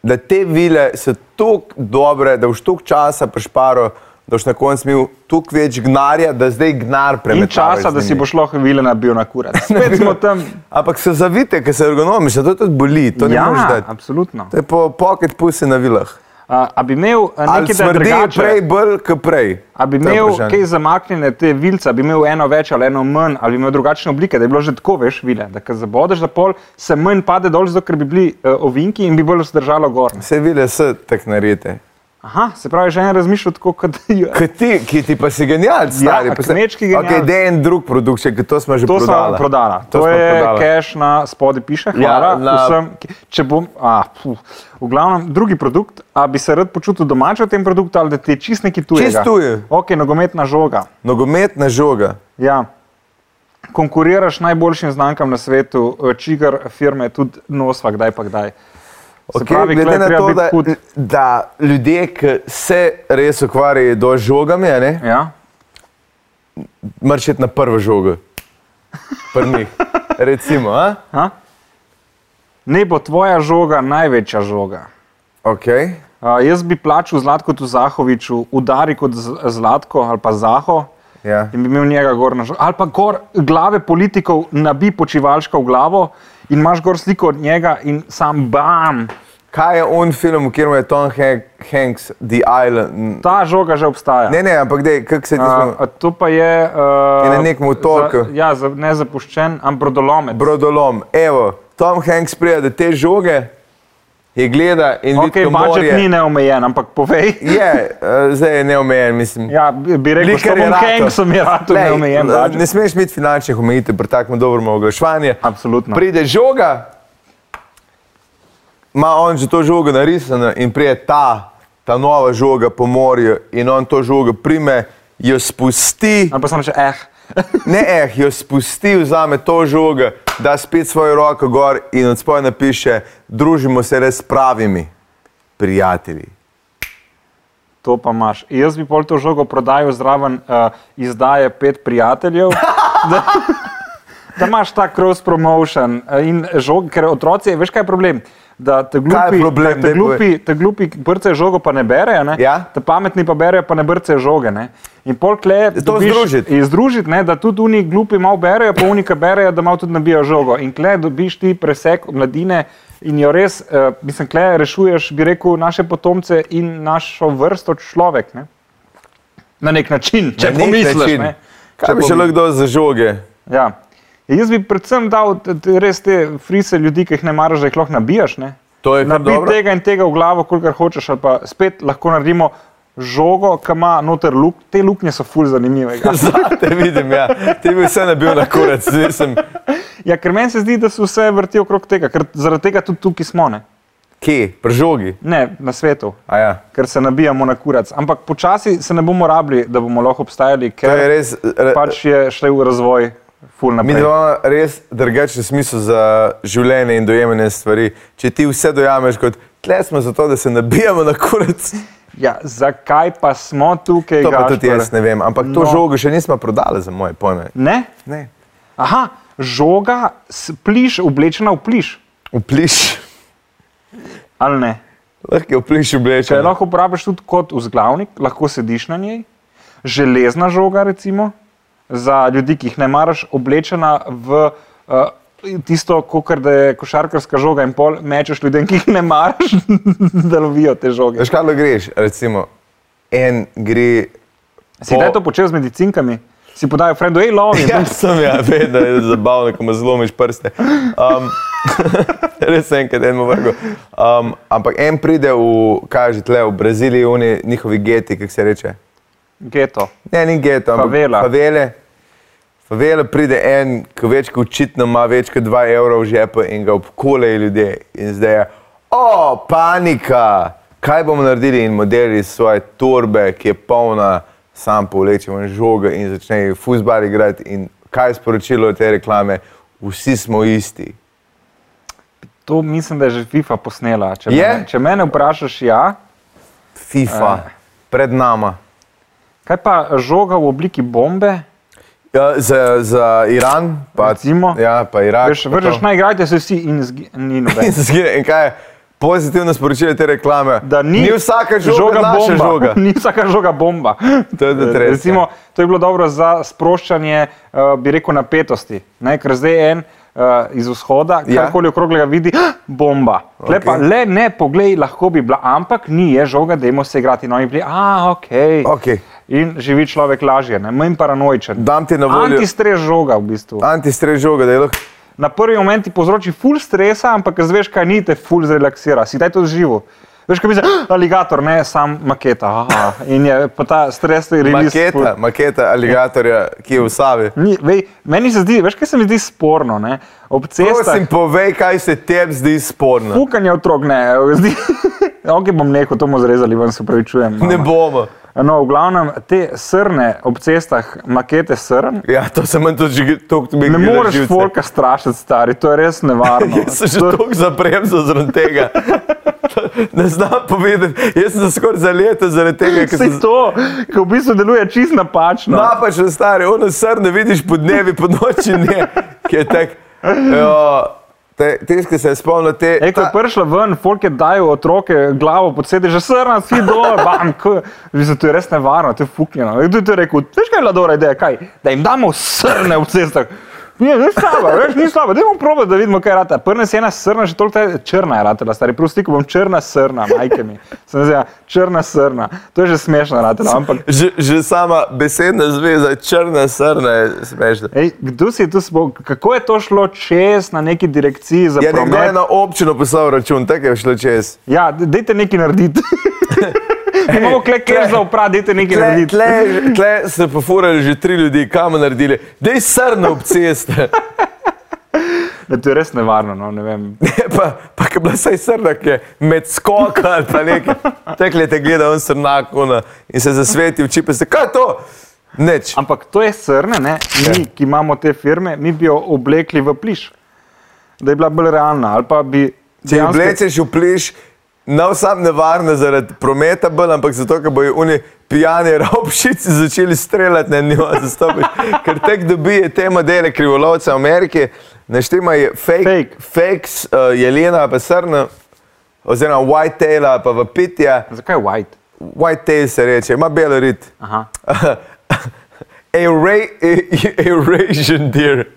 [SPEAKER 3] da te vile so tako dobre, da boš toliko časa prešparo, da boš na koncu imel toliko več gnarja, da zdaj gnar
[SPEAKER 2] In
[SPEAKER 3] premetaš.
[SPEAKER 2] časa, da si boš lahko vile nabil na kurat.
[SPEAKER 3] (laughs)
[SPEAKER 2] Spet smo tam.
[SPEAKER 3] Ampak so zavite, ker so ergonomične, to tudi boli, to ne
[SPEAKER 2] ja,
[SPEAKER 3] moreš dati.
[SPEAKER 2] absolutno.
[SPEAKER 3] To je po pocket pusi na vilah.
[SPEAKER 2] A, a bi imel a,
[SPEAKER 3] Ali
[SPEAKER 2] nekaj, da je
[SPEAKER 3] smrdi
[SPEAKER 2] drugače?
[SPEAKER 3] prej, bolj, kot prej.
[SPEAKER 2] A bi
[SPEAKER 3] To je
[SPEAKER 2] imel
[SPEAKER 3] vprašanje.
[SPEAKER 2] kaj zamaknjene te vilce, a bi imel eno več ali eno manj, ali bi imel drugačne oblike, da je bilo že tako, veš, vile, da ko zabodeš za pol, se manj pade dol, zato ker bi bili uh, ovinki in bi bolj zdržalo gor.
[SPEAKER 3] Vse vile so tako narejene.
[SPEAKER 2] Aha, se pravi, že en razmišlja tako kot (laughs) jo.
[SPEAKER 3] Kaj ti, ki ti pa si genialc,
[SPEAKER 2] Ja,
[SPEAKER 3] stari.
[SPEAKER 2] a
[SPEAKER 3] pa se-
[SPEAKER 2] kmečki
[SPEAKER 3] Okej,
[SPEAKER 2] genialc.
[SPEAKER 3] da je en drug produkt, še, ker to smo že
[SPEAKER 2] To sem
[SPEAKER 3] prodali.
[SPEAKER 2] prodala. To, to
[SPEAKER 3] smo
[SPEAKER 2] je
[SPEAKER 3] prodala.
[SPEAKER 2] cache na spodaj piše. Hvala. Ja,
[SPEAKER 3] na-
[SPEAKER 2] na... Vsem, ki- če bom, a, puh, v glavnem, drugi produkt, a bi se rad počutil domače v tem produktu ali da ti je čist neki tuji.
[SPEAKER 3] Čisto tuje.
[SPEAKER 2] Ok, nogometna žoga.
[SPEAKER 3] Nogometna žoga.
[SPEAKER 2] Ja. Konkuriraš najboljšim znamkam na svetu, eh, čigar firme tudi nosva, kdaj pa kdaj. Se
[SPEAKER 3] Okay, pravi, glede
[SPEAKER 2] glej,
[SPEAKER 3] na
[SPEAKER 2] treba
[SPEAKER 3] to,
[SPEAKER 2] biti
[SPEAKER 3] da,
[SPEAKER 2] hud.
[SPEAKER 3] da ljudje, ki se res ukvarjajo do z žogami, a ne,
[SPEAKER 2] Ja.
[SPEAKER 3] moraš iti na prvo žogo.
[SPEAKER 2] (laughs)
[SPEAKER 3] Prvnih, recimo. a?
[SPEAKER 2] Ha? Ne bo tvoja žoga največja žoga.
[SPEAKER 3] Okay.
[SPEAKER 2] Uh, jaz bi plačal Zlatko Zahoviču, udari kot Z- Zlatko ali pa Zaho.
[SPEAKER 3] Ja.
[SPEAKER 2] In bi imel njega gor na žogi. Ali pa gor glave politikov nabi počivalška v glavo in imaš gor sliko od njega in sam bam.
[SPEAKER 3] Kaj je on film, kjer mu je Tom Hank, Hanks, The Island?
[SPEAKER 2] Ta žoga že obstaja.
[SPEAKER 3] Ne, ne, ampak dej, kak se ti
[SPEAKER 2] A, a
[SPEAKER 3] zdi?
[SPEAKER 2] to pa je. Uh,
[SPEAKER 3] Je na nek motor,
[SPEAKER 2] Za,
[SPEAKER 3] ke-
[SPEAKER 2] ja, za, ne zapuščen, ampak brodolomec.
[SPEAKER 3] Brodolom. Evo, Tom Hanks pride do te žoge, je gleda in vidi,
[SPEAKER 2] okay,
[SPEAKER 3] kako
[SPEAKER 2] budžet ni
[SPEAKER 3] morje.
[SPEAKER 2] neomejen, ampak povej.
[SPEAKER 3] Je, eh, zdaj je neomejen, mislim.
[SPEAKER 2] Ja, bi bi rekel,
[SPEAKER 3] Likar je
[SPEAKER 2] da bom
[SPEAKER 3] ratal.
[SPEAKER 2] Hank, sem je rad
[SPEAKER 3] Glej, eh,
[SPEAKER 2] neomejen. budget.
[SPEAKER 3] Ne smeš imeti finančnih omejitev pri takem dobrem oglaševanju.
[SPEAKER 2] Absolutno.
[SPEAKER 3] Pride žoga, ima on že to žogo narisano in prije ta, ta nova žoga po morju in on to žogo prime, jo spusti,
[SPEAKER 2] Ali pa sem reče, eh,
[SPEAKER 3] ne eh, jo spusti, vzame to žogo, da spet svojo roko gor in od spoja napiše, družimo se res s pravimi prijatelji.
[SPEAKER 2] to pa imaš. Jaz bi pol to žogo prodajal zraven uh, izdaje pet prijateljev. (laughs) Da, Da imaš ta cross promotion eh, in žog, ker otroci, veš kaj je problem? Da te glupi,
[SPEAKER 3] Kaj je problem?
[SPEAKER 2] Te
[SPEAKER 3] Daj povej.
[SPEAKER 2] glupi, te glupi brcajo žogo, pa ne berejo, ne?
[SPEAKER 3] Ja.
[SPEAKER 2] te pametni pa berejo, pa ne brcajo žoge. Ne? In pol kle
[SPEAKER 3] To združiti.
[SPEAKER 2] In združiti, ne, da tudi oni glupi malo berejo, pa oni, ki berejo, da malo tudi nabijajo žogo. In kle dobiš ti presek mladine in jo res, uh, mislim, kle rešuješ, bi rekel, naše potomce in našo vrsto človek. Ne? Na nek način, če
[SPEAKER 3] Na nek
[SPEAKER 2] pomisliš.
[SPEAKER 3] način.
[SPEAKER 2] Ne?
[SPEAKER 3] Kaj bi še
[SPEAKER 2] pomisliš?
[SPEAKER 3] lahko kdo za žoge?
[SPEAKER 2] Ja. Jaz bi predvsem dal t- t- res te frise ljudi, ki jih ne maraš, da jih lahko nabijaš. Ne?
[SPEAKER 3] To je kar
[SPEAKER 2] Nabij
[SPEAKER 3] (laughs) dobro.
[SPEAKER 2] tega in tega v glavo, kolikor hočeš, ali pa spet lahko naredimo žogo, ki ima noter luk. Te luknje so ful zanimive. ga.
[SPEAKER 3] Zate vidim, ja. Ti bi vse nabil na kurec. zdaj Sem...
[SPEAKER 2] Ja, ker meni se zdi, da se vse vrti okrog tega, ker zaradi tega tudi tukaj smo, ne,
[SPEAKER 3] Kje? Pri žogi.
[SPEAKER 2] ne na svetu.
[SPEAKER 3] A ja.
[SPEAKER 2] Ker se nabijamo na kurac. Ampak počasi se ne bomo rabili, da bomo lahko obstajali,
[SPEAKER 3] To je
[SPEAKER 2] ker
[SPEAKER 3] res, re,
[SPEAKER 2] pač je šel v razvoj, ful
[SPEAKER 3] mi
[SPEAKER 2] naprej.
[SPEAKER 3] dva res drugačen smisel za življenje in dojemanje stvari. Če ti vse dojameš kot, tle smo zato, da se nabijamo na kurec.
[SPEAKER 2] Ja, zakaj pa smo tukaj?
[SPEAKER 3] To pa
[SPEAKER 2] Gašper?
[SPEAKER 3] tudi jaz ne vem, ampak to
[SPEAKER 2] No.
[SPEAKER 3] žogo še nismo prodali za moje pojme.
[SPEAKER 2] Ne?
[SPEAKER 3] Ne.
[SPEAKER 2] Aha, žoga, s- pliš, oblečena v pliš.
[SPEAKER 3] Vpliš, (laughs)
[SPEAKER 2] Ali ne?
[SPEAKER 3] lahko je vpliš
[SPEAKER 2] Če jo
[SPEAKER 3] oblečen.
[SPEAKER 2] lahko uporabiš tudi kot vzglavnik, lahko sediš na njej. Železna žoga, recimo, za ljudi, ki jih ne maraš, oblečena v uh, tisto, kot da je košarkarska žoga in pol, mečeš ljudem, ki jih ne maraš, (laughs) da lovijo te žoge.
[SPEAKER 3] Veš, kaj lahko greš, recimo, en gre.
[SPEAKER 2] Si
[SPEAKER 3] po-
[SPEAKER 2] kdaj to počel z medicinkami? Si podajal frendu, hej, lovi.
[SPEAKER 3] (laughs) Ja, (laughs) sem ja, vedno je zabavno, ko me zlomiš prste. Um, (laughs) res enkrat eno vrgo. Um, ampak en pride v, kaj že tle, v Braziliji, oni, njihovi geti, kako se reče.
[SPEAKER 2] Geto.
[SPEAKER 3] Ne, ni geto, ampak
[SPEAKER 2] Favela.
[SPEAKER 3] favele. Favele pride en, ki več kot očitno ima več kot 2 evra v žepu in ga obkolejo ljudje. In zdaj je, o, panika, kaj bomo naredili in modeli iz svoje torbe, ki je polna, sam povleče ven žoga in začne fuzbal igrati. In kaj je sporočilo te reklame? Vsi smo isti.
[SPEAKER 2] To mislim, da je že FIFA posnela. Če,
[SPEAKER 3] Je?
[SPEAKER 2] mene, če mene vprašaš, ja.
[SPEAKER 3] FIFA,
[SPEAKER 2] Eh.
[SPEAKER 3] pred nama.
[SPEAKER 2] Kaj pa žoga v obliki bombe?
[SPEAKER 3] Ja, za, za Iran, pa,
[SPEAKER 2] Recimo.
[SPEAKER 3] ja, pa Irak.
[SPEAKER 2] Veš,
[SPEAKER 3] pa to.
[SPEAKER 2] vržeš na igralce, se vsi in zgi-
[SPEAKER 3] (laughs)
[SPEAKER 2] ni
[SPEAKER 3] In
[SPEAKER 2] noben.
[SPEAKER 3] se zgine, in kaj je pozitivno sporočilo te reklame?
[SPEAKER 2] Da ni,
[SPEAKER 3] ni vsaka žoga, žoga naša
[SPEAKER 2] bomba.
[SPEAKER 3] žoga.
[SPEAKER 2] (laughs) ni vsaka žoga bomba.
[SPEAKER 3] To je ja. tudi res,
[SPEAKER 2] Recimo, to je bilo dobro za sproščanje, uh, bi rekel, napetosti. Ne? Ker zdaj en uh, iz vzhoda,
[SPEAKER 3] Ja.
[SPEAKER 2] karkoli okroglega vidi, "Ah, bomba. Okay. Pa,
[SPEAKER 3] Okej.
[SPEAKER 2] le ne, poglej, lahko bi bila, ampak ni je žoga, dajmo se igrati. No, in bili, a, ok.
[SPEAKER 3] Okej.
[SPEAKER 2] In živi človek lažje, ne? manj paranoičen.
[SPEAKER 3] Dam ti na voljo-
[SPEAKER 2] Antistres žoga v bistvu.
[SPEAKER 3] Antistres žoga, da je lahko.
[SPEAKER 2] Na prvi moment ti povzroči ful stresa, ampak ker zveš, kaj ni, te ful zrelaksira. Si daj to živo. Veš, kaj bi se, "Ah, aligator, ne, sam maketa. Aha. In je pa ta stres te release.
[SPEAKER 3] Maketa,
[SPEAKER 2] ful-
[SPEAKER 3] maketa aligatorja, ki je v Savi.
[SPEAKER 2] Ni, vej, meni se zdi, veš, kaj se mi zdi sporno, ne? Ob
[SPEAKER 3] Prosim,
[SPEAKER 2] cestah.
[SPEAKER 3] povej, kaj se tebi zdi sporno.
[SPEAKER 2] Pukanje otrok, ne, (laughs) zdi. Ok, bom neko, to bomo zrezali, vam se upravičujem.
[SPEAKER 3] Ne
[SPEAKER 2] mama.
[SPEAKER 3] bomo.
[SPEAKER 2] No, v glavnem, te srne ob cestah, makete srn,
[SPEAKER 3] Ja, to sem meni tudi tako mi
[SPEAKER 2] ne moreš folka strašiti, stari, to je res nevarno.
[SPEAKER 3] (laughs) Jaz sem že
[SPEAKER 2] To-
[SPEAKER 3] tako zapremzel zaradi
[SPEAKER 2] (laughs)
[SPEAKER 3] tega. Ne znam povedati, jaz sem se skoraj zaletel zaradi tega, ker sem
[SPEAKER 2] Vse to, ki v bistvu deluje čist napačno.
[SPEAKER 3] Napačen stari, ono srne vidiš po dnevi, po noči ne, ki je tak. Jo, te, tiskaj se je spomnil te.
[SPEAKER 2] E, ko je
[SPEAKER 3] ta-
[SPEAKER 2] prišla ven, folk je dajal otroke glavo pod sedež, že srna, vsi dol, (laughs) bam, k, mislim, to je res nevarno, to je fuknjeno. Kdo je to rekel, veš kaj je bila dobra ideja, kaj, da jim damo srne v cestah. Ne, ni slabo, veš, ni slabo, dajmo probati, da vidimo, kaj je rata. Prne se ena srna, že toliko te- črna je ratela, stari, prosti, ko bom črna srna, majke mi. Sem zdaj, črna srna, to je že smešna ratela, ampak
[SPEAKER 3] Že, že sama besedna zveza, črna srna je smešna.
[SPEAKER 2] Ej, kdo si je tu spomnil, kako je to šlo čez na neki direkciji za
[SPEAKER 3] Ja, nekdo je
[SPEAKER 2] promet?
[SPEAKER 3] na občino poslal račun, tako je šlo čez.
[SPEAKER 2] Ja, d- dajte
[SPEAKER 3] (laughs)
[SPEAKER 2] nekaj narediti. Imamo
[SPEAKER 3] tle-
[SPEAKER 2] klekler za upra, dajte nekaj
[SPEAKER 3] Tle,
[SPEAKER 2] narediti.
[SPEAKER 3] tle, tle so pofurali že tri ljudi, kam naredili, dej srno ob ceste.
[SPEAKER 2] Ne, to je res nevarno, no, ne vem.
[SPEAKER 3] (laughs) Ne, pa, pa ki je bila saj srna, ki je med skoka ali pa nekaj. Tekle te gleda on srnak ona, in se zasveti v čipe, se kaj je to? Neč.
[SPEAKER 2] Ampak to je srne, ne?
[SPEAKER 3] Ja.
[SPEAKER 2] mi, ki imamo te firme, mi bi jo oblekli v pliš, da je bila bolj realna. ali pa Bi
[SPEAKER 3] Če jo
[SPEAKER 2] dejansko-
[SPEAKER 3] oblečeš v pliš, ne sam nevarna zaradi prometa, bolj, ampak zato, ker bojo oni pijani robšici začeli streljati na njo,
[SPEAKER 2] (laughs)
[SPEAKER 3] zastopiš. Ker tek dobije te modele krivolovca Amerike, naštima je fake,
[SPEAKER 2] Fake.
[SPEAKER 3] fake uh, jelena pa srna, oziroma whitetaila pa vapitja,
[SPEAKER 2] Zakaj je white?
[SPEAKER 3] whitetail se reče, ima belo rit.
[SPEAKER 2] Aha.
[SPEAKER 3] (laughs) Eura- e- (laughs) e- Eurasian deer.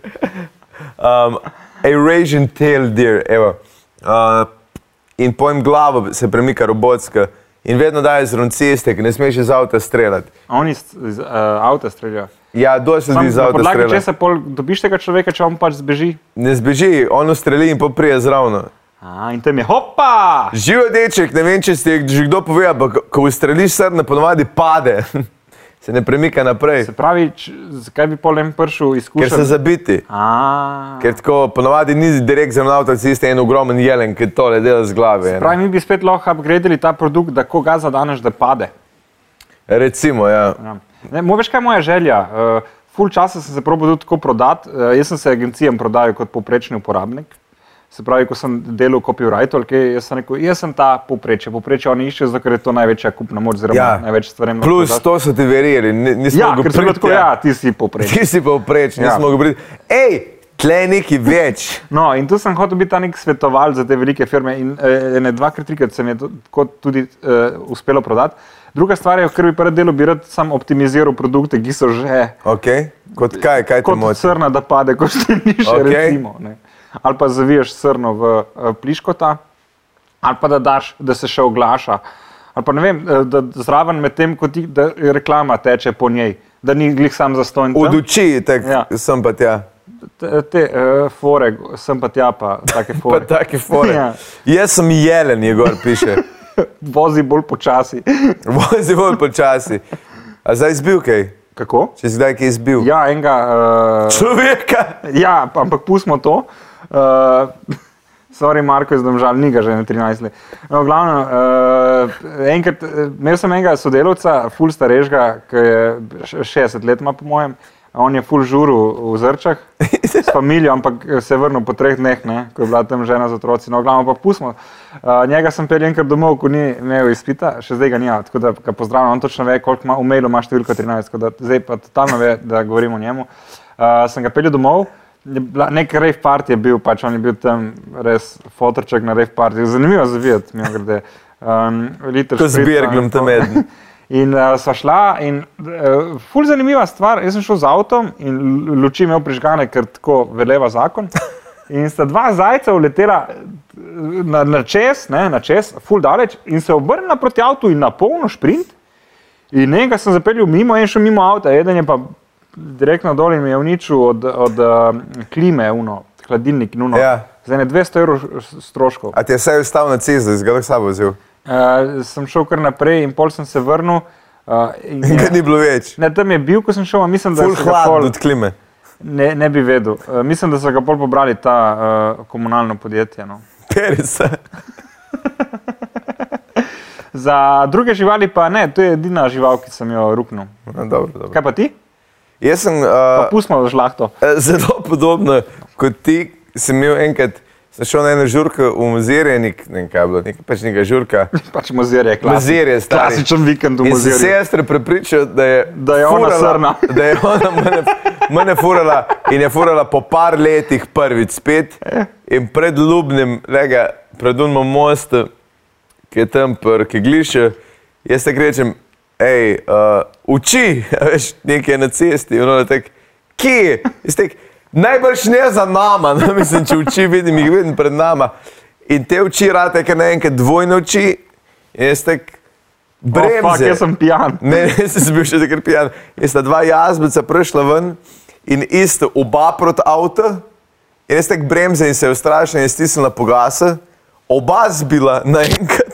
[SPEAKER 3] Um, Eurasian tail deer, evo. Uh, in pojem glavo se premika robotska in vedno daje zraven ceste, ki ne smeš iz avta streljati.
[SPEAKER 2] A Oni iz uh, avta streljajo.
[SPEAKER 3] Ja, dosti ljudi iz
[SPEAKER 2] Na
[SPEAKER 3] avta
[SPEAKER 2] podlagi
[SPEAKER 3] strelja.
[SPEAKER 2] česa pol dobiš tega človeka, če on pač zbeži.
[SPEAKER 3] Ne zbeži, on ustreli in poprije zraven.
[SPEAKER 2] A, in tam je hopa!
[SPEAKER 3] Živo deček, ne vem, če ste že kdo povedal, ampak ko ustreliš srne, ponovadi pade, (laughs) se ne premika naprej,
[SPEAKER 2] Se pravi, č, zakaj bi pol en pršil
[SPEAKER 3] ker se
[SPEAKER 2] izkušen?
[SPEAKER 3] zabiti.
[SPEAKER 2] A,
[SPEAKER 3] Ker tako ponovadi ni direkt za mnavta ceste en ogromen jelen, ki tole dela z glave. eno.
[SPEAKER 2] pravi, mi bi spet lahko upgradili ta produkt, da koga zadaneš, da pade.
[SPEAKER 3] Recimo, ja.
[SPEAKER 2] Ja. Ne, mo, veš, kaj je moja želja? Uh, ful časa sem se probal tudi tako prodati. Uh, jaz sem se agencijam prodajal kot povprečni uporabnik. Se pravi, ko sem delal copyright, ali kaj, jaz sem rekel, jaz sem ta povprečje. Povprečje oni iščejo, zato ker je to največja kupna moč, zelo
[SPEAKER 3] Ja.
[SPEAKER 2] ja. največ stvari.
[SPEAKER 3] Plus, to so ti verjeli, ni- nismo
[SPEAKER 2] Ja,
[SPEAKER 3] mogli
[SPEAKER 2] ker sem
[SPEAKER 3] priti,
[SPEAKER 2] bil tako, ja, ti si
[SPEAKER 3] (laughs)
[SPEAKER 2] povprečje.
[SPEAKER 3] Ti si povprečen, ja.
[SPEAKER 2] Ja.
[SPEAKER 3] nismo mogli priti. Ej, tle je nekaj več.
[SPEAKER 2] No, in tu sem hotel biti ta nek svetovalec za te velike firme. In eh, ne dvakrat, trikrat se mi je to tako tudi eh, uspelo prodati. Druga stvar je, ker bi prvi delo bi rad sam optimiziral produkte, ki so že
[SPEAKER 3] Okay. Kot kaj, kaj te
[SPEAKER 2] kot
[SPEAKER 3] moti?
[SPEAKER 2] srna, da pade, kot šteniš,
[SPEAKER 3] Okej.
[SPEAKER 2] okay. recimo. Ne. Ali pa zaviješ srno v eh, pliškota, ali pa da daš, da se še oglaša. Ali pa ne vem, eh, da zraven med tem, ko ti da reklama teče po njej, da ni glih sam zastojn.
[SPEAKER 3] Od oči, tak, ja.
[SPEAKER 2] Ja.
[SPEAKER 3] sem pa tja.
[SPEAKER 2] Te, te uh, fore, sem pa tja, pa take
[SPEAKER 3] Pa
[SPEAKER 2] fore.
[SPEAKER 3] taki fore. ja.
[SPEAKER 2] (laughs) Ja.
[SPEAKER 3] Jaz sem jelen, je gor
[SPEAKER 2] (laughs)
[SPEAKER 3] piše.
[SPEAKER 2] Vozi bolj počasi.
[SPEAKER 3] Vozi bolj počasi. A zdaj izbil kaj?
[SPEAKER 2] Kako?
[SPEAKER 3] Če si zdaj kaj izbil?
[SPEAKER 2] Ja, enega. Uh,
[SPEAKER 3] Človeka!
[SPEAKER 2] ja, pa- ampak pustimo to. Uh, (laughs) sorry, Marko, zdržal, ni ga že na 13 let. No, glavno, uh, enkrat, eh, imel sem enega sodelavca, ful starejšega, ki je š- 60 let, ima po mojem. On je full žuru v Zrčah s familijo, ampak se je vrnil po treh dneh, ne, ko je bila tam žena z otroci. No, glavno pa pustimo. Uh, njega sem pel enkrat domov, ko ni imel izpita, še zdaj ga nima, tako da ga pozdravljam, on točno ve, koliko ima v mailu, ima številko 13, tako da zdaj pa tam ve, da govorimo o njemu. Uh, sem ga pelil domov, je bila- nek rave part je bil, pač on je bil tam res fotorček na rave party, zanimivo za videti, mi grede. Um, liter
[SPEAKER 3] Ko
[SPEAKER 2] šprica in
[SPEAKER 3] zbirgnem
[SPEAKER 2] to.
[SPEAKER 3] tam eden.
[SPEAKER 2] In uh, sva šla, in uh, ful zanimiva stvar. Jaz sem šel z avtom in lu- luči imel prižgane, ker tako veleva zakon. In sta dva zajca uletela eh, na, na čez, ne, na čez, ful daleč, in se obrnila proti avtu in na polno šprint. In enega sem zapeljal mimo, en še mimo avta, eden je pa direktno dol in mi je uničil od, od uh, klime, uno, hladilnik, nuno.
[SPEAKER 3] Ja.
[SPEAKER 2] Za ne 200 evrov š- stroškov.
[SPEAKER 3] A ti je vsaj vstal na cesto, si ga lahko s sabo vzel.
[SPEAKER 2] Uh, sem šel kar naprej in pol sem se vrnil. Uh, in
[SPEAKER 3] In
[SPEAKER 2] je-
[SPEAKER 3] ga ni bilo več.
[SPEAKER 2] Ne, tam je bil, ko sem šel, a mislim, da
[SPEAKER 3] Ful
[SPEAKER 2] so ga ja, pol,
[SPEAKER 3] hlad od klime.
[SPEAKER 2] ne, ne bi vedel. Uh, mislim, da so ga pol pobrali ta uh, komunalno podjetje. No.
[SPEAKER 3] Perisa.
[SPEAKER 2] Za druge živali pa ne, to je edina žival, ki sem jo ruknil.
[SPEAKER 3] No, dobro, dobro.
[SPEAKER 2] Kaj pa ti?
[SPEAKER 3] Jaz sem uh,
[SPEAKER 2] Pustimo žlahto.
[SPEAKER 3] eh, zelo podobno kot ti, sem imel enkrat, sem šel na eno žurko v muzirje, nek, ne vem kaj je bilo, nek, pač neka žurka.
[SPEAKER 2] Pač mozir je klasičen.
[SPEAKER 3] Mozir je stari.
[SPEAKER 2] klasičen vikend v
[SPEAKER 3] In sem se
[SPEAKER 2] mozirju.
[SPEAKER 3] sestre prepričal, da je,
[SPEAKER 2] Da je ona srna.
[SPEAKER 3] (laughs) da je ona mene, mene furala in je furala po par letih prvič spet
[SPEAKER 2] Eh.
[SPEAKER 3] in pred Ljubnem, lega, pred Unmo most, ki je tam pr Keglišče, jaz tako rečem, hej, uh, uči, (laughs) a veš, nekaj na cesti in ona tako, kje, jaz tako, najbrž ne za nama, (laughs) no, mislim, če uči, vidim jih vedno pred nama in te uči rate, ker naenkrat dvojno uči in jaz tako, bremze.
[SPEAKER 2] Oh, fuck, jaz sem pijan.
[SPEAKER 3] Ne, ne, (laughs) jaz sem bil še takrat pijan. In sta dva jazbeca prišla ven in isto, oba proti avtu, in jaz tek bremze in se je ustrašen in stisnila pogasa, oba zbila naenkrat.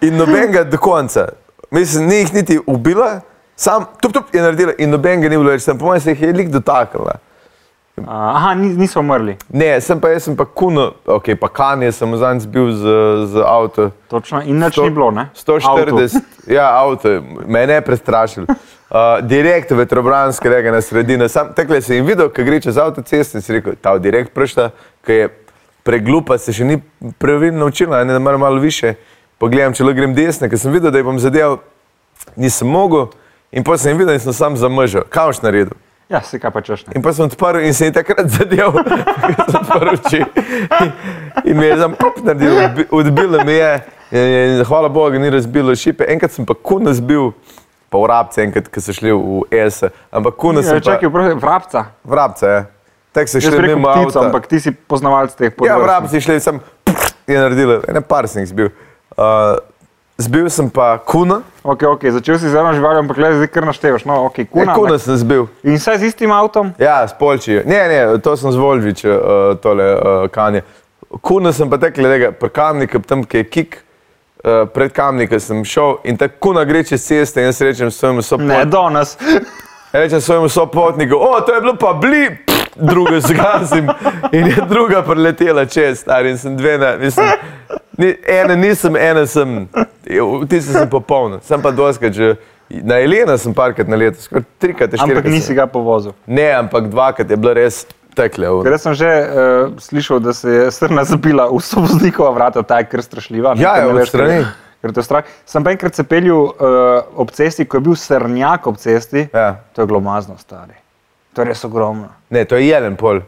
[SPEAKER 3] In nobenega do konca. Mislim, ni jih niti ubila, sam tup, tup je naredila in nobenega ni bilo več, sem po mojem se jih je lik dotaknila.
[SPEAKER 2] Uh, aha, ni- niso umrli.
[SPEAKER 3] Ne, sem pa jaz, sem pa kuno, ok, pa kanje sem zadnjič bil z, z avto.
[SPEAKER 2] Točno, in nič
[SPEAKER 3] Sto-
[SPEAKER 2] ni bilo, ne? Avtu.
[SPEAKER 3] 140, ja, avto, je mene je prestrašil. Uh, direkt vetrobranske rege na sredini, sam takole sem jim videl, ko gre čez avtocest in si rekel, ta direkt pršta, ki je preglupa se še ni pravilno učila, a ne, da moram malo više. Pogledam, če lahko grem desne, ker sem videl, da jih bom zadeval, nisem mogel in potem sem videl, da sem sam zamržil. Kaj boš naredil?
[SPEAKER 2] Ja, se kaj pa češ. Ne?
[SPEAKER 3] In potem sem odprl in se je takrat zadeval, ker sem (laughs) odprl oči. In me je tam pop naredil, odbi- odbilo me je. In, in, hvala Bogu, ni razbilo šipe. Enkrat sem pa kuna zbil, pa vrabce, enkrat, ki so šli v ES, ampak kuna sem
[SPEAKER 2] Ja, čakaj,
[SPEAKER 3] pa
[SPEAKER 2] prosim, vrabca.
[SPEAKER 3] vrabce. Ja. Tako se
[SPEAKER 2] Jaz
[SPEAKER 3] šli
[SPEAKER 2] bi rekel
[SPEAKER 3] mimo
[SPEAKER 2] ptica,
[SPEAKER 3] avta.
[SPEAKER 2] ampak ti si poznavalec teh
[SPEAKER 3] Ja,
[SPEAKER 2] področij.
[SPEAKER 3] vrabci šli sem in naredili, ne par sem jih zbil. Uh, zbil sem pa kuna,
[SPEAKER 2] Okay, okay. Začel si z eno živaljo, ampak le zdaj kar naštevaš. No, okay,
[SPEAKER 3] kuna, ne, Ja,
[SPEAKER 2] kuna,
[SPEAKER 3] Eh, kuna
[SPEAKER 2] ne.
[SPEAKER 3] sem zbil.
[SPEAKER 2] In vse z istim avtom?
[SPEAKER 3] Ja, spolči. Ne, ne, to sem z Volvič, uh, tole uh, kanje. Kuna sem pa tekle, da pri kamniku, tam, ki je kik, uh, pred kamnikom sem šel in tako kuna gre čez ceste in jaz rečem svojemu
[SPEAKER 2] Ne,
[SPEAKER 3] sopotniku,
[SPEAKER 2] danes.
[SPEAKER 3] rečem svojemu sopotniku, o, to je bilo pa bli, Pff, drugo zgazim (laughs) in je druga preletela čez, star in sem dve, na, mislim, ni, ene nisem, ene sem, tisti sem popoln, sem pa doskrat že, na Elena sem parkrat na leto, skoraj trikrat,
[SPEAKER 2] Ampak
[SPEAKER 3] štirikrat. sem-
[SPEAKER 2] nisi ga povozil.
[SPEAKER 3] Ne, ampak dvakrat je bilo res tekle. ono.
[SPEAKER 2] Ker jaz sem že uh, slišal, da se je srna zapila v sovoznikova vrata, ta je kar strašljiva. ne,
[SPEAKER 3] Ja,
[SPEAKER 2] ker
[SPEAKER 3] ja,
[SPEAKER 2] ne
[SPEAKER 3] od
[SPEAKER 2] veš,
[SPEAKER 3] strani.
[SPEAKER 2] ker- Ker te je strah. Sem pa enkrat se peljal uh, ob cesti, ko je bil srnjak ob cesti.
[SPEAKER 3] Ja.
[SPEAKER 2] To je glomazno, stari. To je res ogromno.
[SPEAKER 3] Ne, to je jelen pol.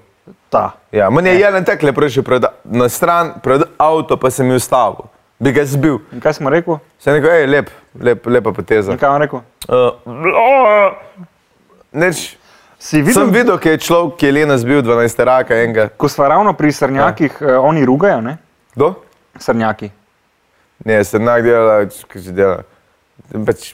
[SPEAKER 2] Ta.
[SPEAKER 3] Ja, meni je jelen tekle prišel pred, na stran, pred avto pa sem jih ustavil. Bi ga zbil.
[SPEAKER 2] In kaj smo rekel?
[SPEAKER 3] Sem rekel, hej, lep, lep, lepa poteza. Eh,
[SPEAKER 2] In kaj je on rekel?
[SPEAKER 3] Uh, neč,
[SPEAKER 2] Si videl,
[SPEAKER 3] sem videl, ki je človek, ki je lena zbil 12 raka enega.
[SPEAKER 2] ko smo ravno pri srnjakih, ja. uh, oni rugajo, ne?
[SPEAKER 3] Kdo?
[SPEAKER 2] Srnjaki.
[SPEAKER 3] Ne, se enak dela, kaj že dela. Pač,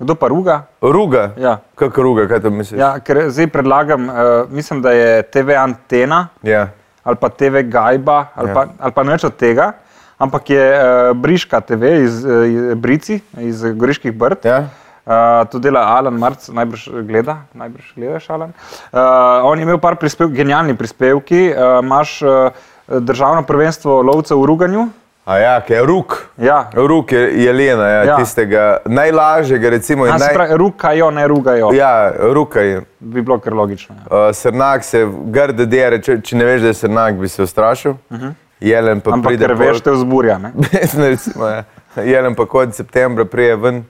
[SPEAKER 2] Kdo pa ruga?
[SPEAKER 3] ruga.
[SPEAKER 2] Ja.
[SPEAKER 3] Kako ruga, kaj to misliš?
[SPEAKER 2] Ja, ker zdaj predlagam, uh, mislim, da je TV antena
[SPEAKER 3] ja.
[SPEAKER 2] ali pa TV gajba ali, ja.
[SPEAKER 3] Ja.
[SPEAKER 2] pa, ali pa neč od tega, ampak je uh, Briška TV iz uh, Brici, iz Goriških brd.
[SPEAKER 3] Ja.
[SPEAKER 2] Uh, to dela Alan Marc, najbrž gleda, najbrž gledaš Alan. Uh, on je imel par prispevkov, genialni prispevki. Uh, imaš uh, državno prvenstvo lovcev v ruganju.
[SPEAKER 3] A ja, ki je rug.
[SPEAKER 2] Ja.
[SPEAKER 3] Rug je jelena, ja,
[SPEAKER 2] Ja.
[SPEAKER 3] ja. tistega najlažjega, recimo. in
[SPEAKER 2] A, se
[SPEAKER 3] naj-
[SPEAKER 2] pravi, rukajo, ne rugajo. Ja.
[SPEAKER 3] Ja, ruka je.
[SPEAKER 2] Bi bilo kar logično. Ja.
[SPEAKER 3] Uh, srnak se grde dere, če, če ne veš, da je srnak, bi se ustrašil. Uh -huh. Jelen pa
[SPEAKER 2] Mhm. Ampak
[SPEAKER 3] pride
[SPEAKER 2] ker veš,
[SPEAKER 3] (laughs)
[SPEAKER 2] te vzburja. Ne?
[SPEAKER 3] Mislim, recimo, ja. Jelen pa kot septembra prije ven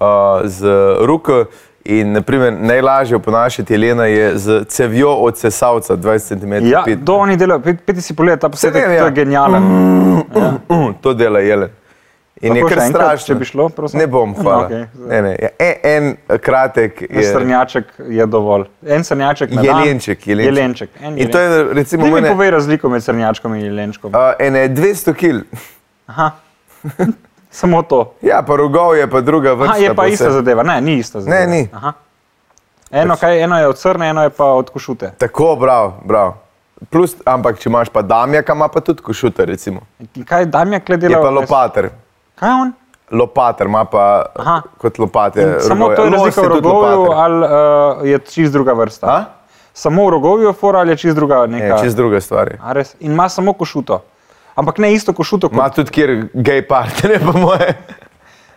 [SPEAKER 3] uh, z roko. In naprimer, najlažje oponašati jelena je z cevjo od sesalca 20 cm.
[SPEAKER 2] Ja, to oni delajo, pet, peti si pogled, ta posebej,
[SPEAKER 3] vem,
[SPEAKER 2] to
[SPEAKER 3] ja.
[SPEAKER 2] je genialen.
[SPEAKER 3] Mm, (clears throat) to dela jelen. In je
[SPEAKER 2] Lahko
[SPEAKER 3] kar
[SPEAKER 2] še enkrat,
[SPEAKER 3] strašno.
[SPEAKER 2] če bi šlo, prosim?
[SPEAKER 3] Ne
[SPEAKER 2] No,
[SPEAKER 3] bom, hvala.
[SPEAKER 2] Okej.
[SPEAKER 3] Okay. Ne, ne. Ja, En, en kratek
[SPEAKER 2] En
[SPEAKER 3] je
[SPEAKER 2] Srnjaček je dovolj. En srnjaček na dan.
[SPEAKER 3] jelenček.
[SPEAKER 2] jelenček. en
[SPEAKER 3] In to je recimo
[SPEAKER 2] Ti mi
[SPEAKER 3] mene-
[SPEAKER 2] povej razliko med srnjačkom in jelenčkom.
[SPEAKER 3] Uh, ene 200 kil. (laughs)
[SPEAKER 2] Aha. (laughs) Samo to.
[SPEAKER 3] Ja, pa rogov je pa druga vrsta.
[SPEAKER 2] Aha, je pa
[SPEAKER 3] vse.
[SPEAKER 2] ista zadeva. Ne, ni ista zadeva.
[SPEAKER 3] ni. Pač-
[SPEAKER 2] Aha. Eno, kaj, eno je od srne, eno je pa od košute.
[SPEAKER 3] Tako, prav, prav. Plus, ampak če imaš pa Damjaka, ima pa tudi košuta, recimo.
[SPEAKER 2] In Kaj Damjak le
[SPEAKER 3] Je
[SPEAKER 2] dela?
[SPEAKER 3] pa lopater.
[SPEAKER 2] Kaj je on?
[SPEAKER 3] Lopater ima pa
[SPEAKER 2] Aha.
[SPEAKER 3] Aha. kot lopate.
[SPEAKER 2] Samo
[SPEAKER 3] rogove.
[SPEAKER 2] to je
[SPEAKER 3] Los
[SPEAKER 2] razlika v
[SPEAKER 3] tudi
[SPEAKER 2] rogovju
[SPEAKER 3] lopater.
[SPEAKER 2] ali uh, je čist druga vrsta.
[SPEAKER 3] A?
[SPEAKER 2] Samo v rogovju je fora ali je čist druga neka.
[SPEAKER 3] Ne, čez druge stvari.
[SPEAKER 2] Ja. A res? In ima samo košuto. Ampak ne isto košuto, kot
[SPEAKER 3] Ima tudi kjer gej partnerje, po
[SPEAKER 2] (laughs)
[SPEAKER 3] moje.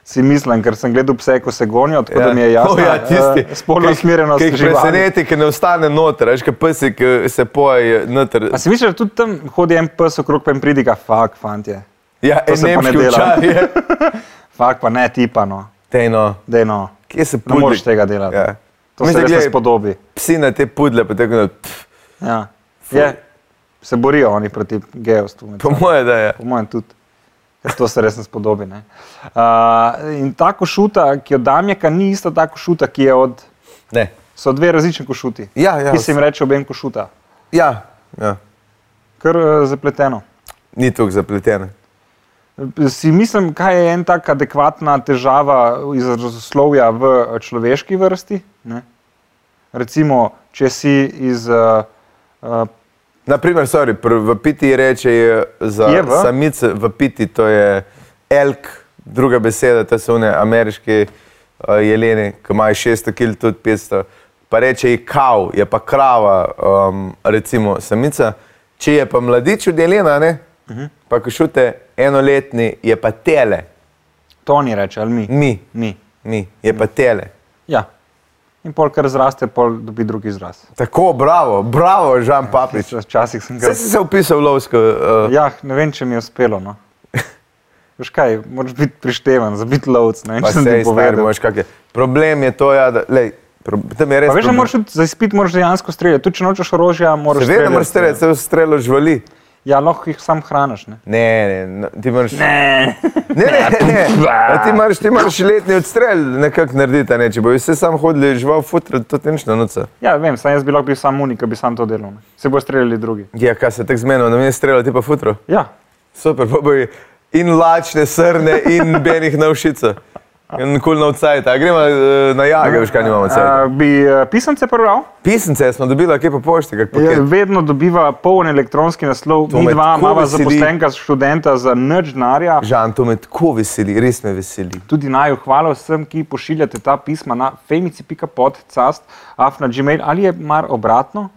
[SPEAKER 2] si mislim, ker sem gledal pse, ko se gonijo, tako ja. da mi je jasno,
[SPEAKER 3] O, (laughs) ja,
[SPEAKER 2] eh,
[SPEAKER 3] tisti.
[SPEAKER 2] spolna usmerjenost
[SPEAKER 3] Ki jih
[SPEAKER 2] živali.
[SPEAKER 3] preseneti, ki ne ostane noter, veš, ki psi, ki se poje noter.
[SPEAKER 2] A si misliš, da tudi tam hodi en pes okrog, pa jim pridiga, fak, fantje.
[SPEAKER 3] Ja,
[SPEAKER 2] To
[SPEAKER 3] en
[SPEAKER 2] se pa ne
[SPEAKER 3] nemški
[SPEAKER 2] dela.
[SPEAKER 3] učar
[SPEAKER 2] (laughs)
[SPEAKER 3] je. no.
[SPEAKER 2] Fak pa ne, tipano,
[SPEAKER 3] Tejno,
[SPEAKER 2] dejno.
[SPEAKER 3] kje se pudli?
[SPEAKER 2] no. Ne moreš tega delati.
[SPEAKER 3] Ja.
[SPEAKER 2] To se
[SPEAKER 3] Mislim,
[SPEAKER 2] res ne
[SPEAKER 3] glej,
[SPEAKER 2] spodobi.
[SPEAKER 3] Psi na te pudle, pa tako, pf,
[SPEAKER 2] Ja. Je, se borijo oni proti gejovstvu. med
[SPEAKER 3] po
[SPEAKER 2] sabo.
[SPEAKER 3] moje, da je.
[SPEAKER 2] po mojem tudi. Ker to se res ne spodobi. Ne? Uh, in ta košuta, ki je od Damjaka, ni ista ta košuta, ki je od.
[SPEAKER 3] Ne.
[SPEAKER 2] So dve različni košuti.
[SPEAKER 3] Ja, ja,
[SPEAKER 2] ki se jim reče obem košuta.
[SPEAKER 3] Ja, ja.
[SPEAKER 2] Kar uh, zapleteno.
[SPEAKER 3] ni tako zapleteno.
[SPEAKER 2] Si mislim, kaj je en tak adekvatna težava izrazoslovja v eh, človeški vrsti. Ne? Recimo, če si iz. Uh, uh,
[SPEAKER 3] Naprimer, sorry, pr- v piti reče je za
[SPEAKER 2] Je v?
[SPEAKER 3] samice, v piti to je elk, druga beseda, to so one ameriške uh, jelene, ki imajo 600 kg, tudi 500. Pa reče je kav, je pa krava, um, recimo samica. Če je pa mladič od jelena, ne, uh
[SPEAKER 2] Mhm.
[SPEAKER 3] -huh. pa košute enoletni, je pa tele,
[SPEAKER 2] to ni reče, ali mi?
[SPEAKER 3] mi,
[SPEAKER 2] mi.
[SPEAKER 3] mi, je pa tele.
[SPEAKER 2] Ja. in pol, kar zraste, pol dobi drugi izraz.
[SPEAKER 3] Tako, bravo, bravo, Žan Papič.
[SPEAKER 2] Včasih sem ga
[SPEAKER 3] Zdaj si se upisal v lovsko. Uh,
[SPEAKER 2] Ja, ne vem, če mi je uspelo. No. Veš kaj, moraš biti prištevan, za biti lovec. Ne, vem,
[SPEAKER 3] pa
[SPEAKER 2] če sem
[SPEAKER 3] se
[SPEAKER 2] ti
[SPEAKER 3] izvedel,
[SPEAKER 2] povedal.
[SPEAKER 3] moš kakšne. Problem je to, ja, da, lej, pro, tam je res.
[SPEAKER 2] Pa veš, da
[SPEAKER 3] problem.
[SPEAKER 2] moraš tudi za izpit moraš dejansko streljati. Tudi če nočeš orožja, moraš
[SPEAKER 3] Seveda moraš streljati,
[SPEAKER 2] streljati.
[SPEAKER 3] se strelo žvali.
[SPEAKER 2] Ja, lahko jih sam hraniš. Ne?
[SPEAKER 3] Ne, ne, no, ti moraš. Ne,
[SPEAKER 2] Ne.
[SPEAKER 3] ne, ne.
[SPEAKER 2] (laughs)
[SPEAKER 3] ne. A ti moraš, ti moraš letni odstrel nekako narediti, a ne, če bojo vse sam hodili žival futra, to ti nič na noca.
[SPEAKER 2] Ja, vem, sam jaz bi lahko bil sam unik, ki bi sam to delal. Ne? Se bo streljali drugi.
[SPEAKER 3] Ja, kaj se tek zmenil, na meni strelo, ti pa futro.
[SPEAKER 2] Ja,
[SPEAKER 3] Super, pa boji in lačne srne
[SPEAKER 2] (laughs)
[SPEAKER 3] in benih na ušica. In kul na odcajt, a gremo eh, na jage, veš kaj nimamo odcajt.
[SPEAKER 2] A, bi eh, pisemce prebral?
[SPEAKER 3] Pisnice smo dobili, kje pa pošte, kak
[SPEAKER 2] Okay.
[SPEAKER 3] paket.
[SPEAKER 2] Vedno dobiva poln elektronski naslov,
[SPEAKER 3] To
[SPEAKER 2] mi
[SPEAKER 3] me
[SPEAKER 2] dva
[SPEAKER 3] tako
[SPEAKER 2] imamo
[SPEAKER 3] veseli.
[SPEAKER 2] zaposlenka, študenta za nič denarja.
[SPEAKER 3] Žan, to me tako veseli, res me veseli.
[SPEAKER 2] Tudi naj hvala vsem, ki pošiljate ta pisma na femici.podcast, afna gmail ali je mar obratno.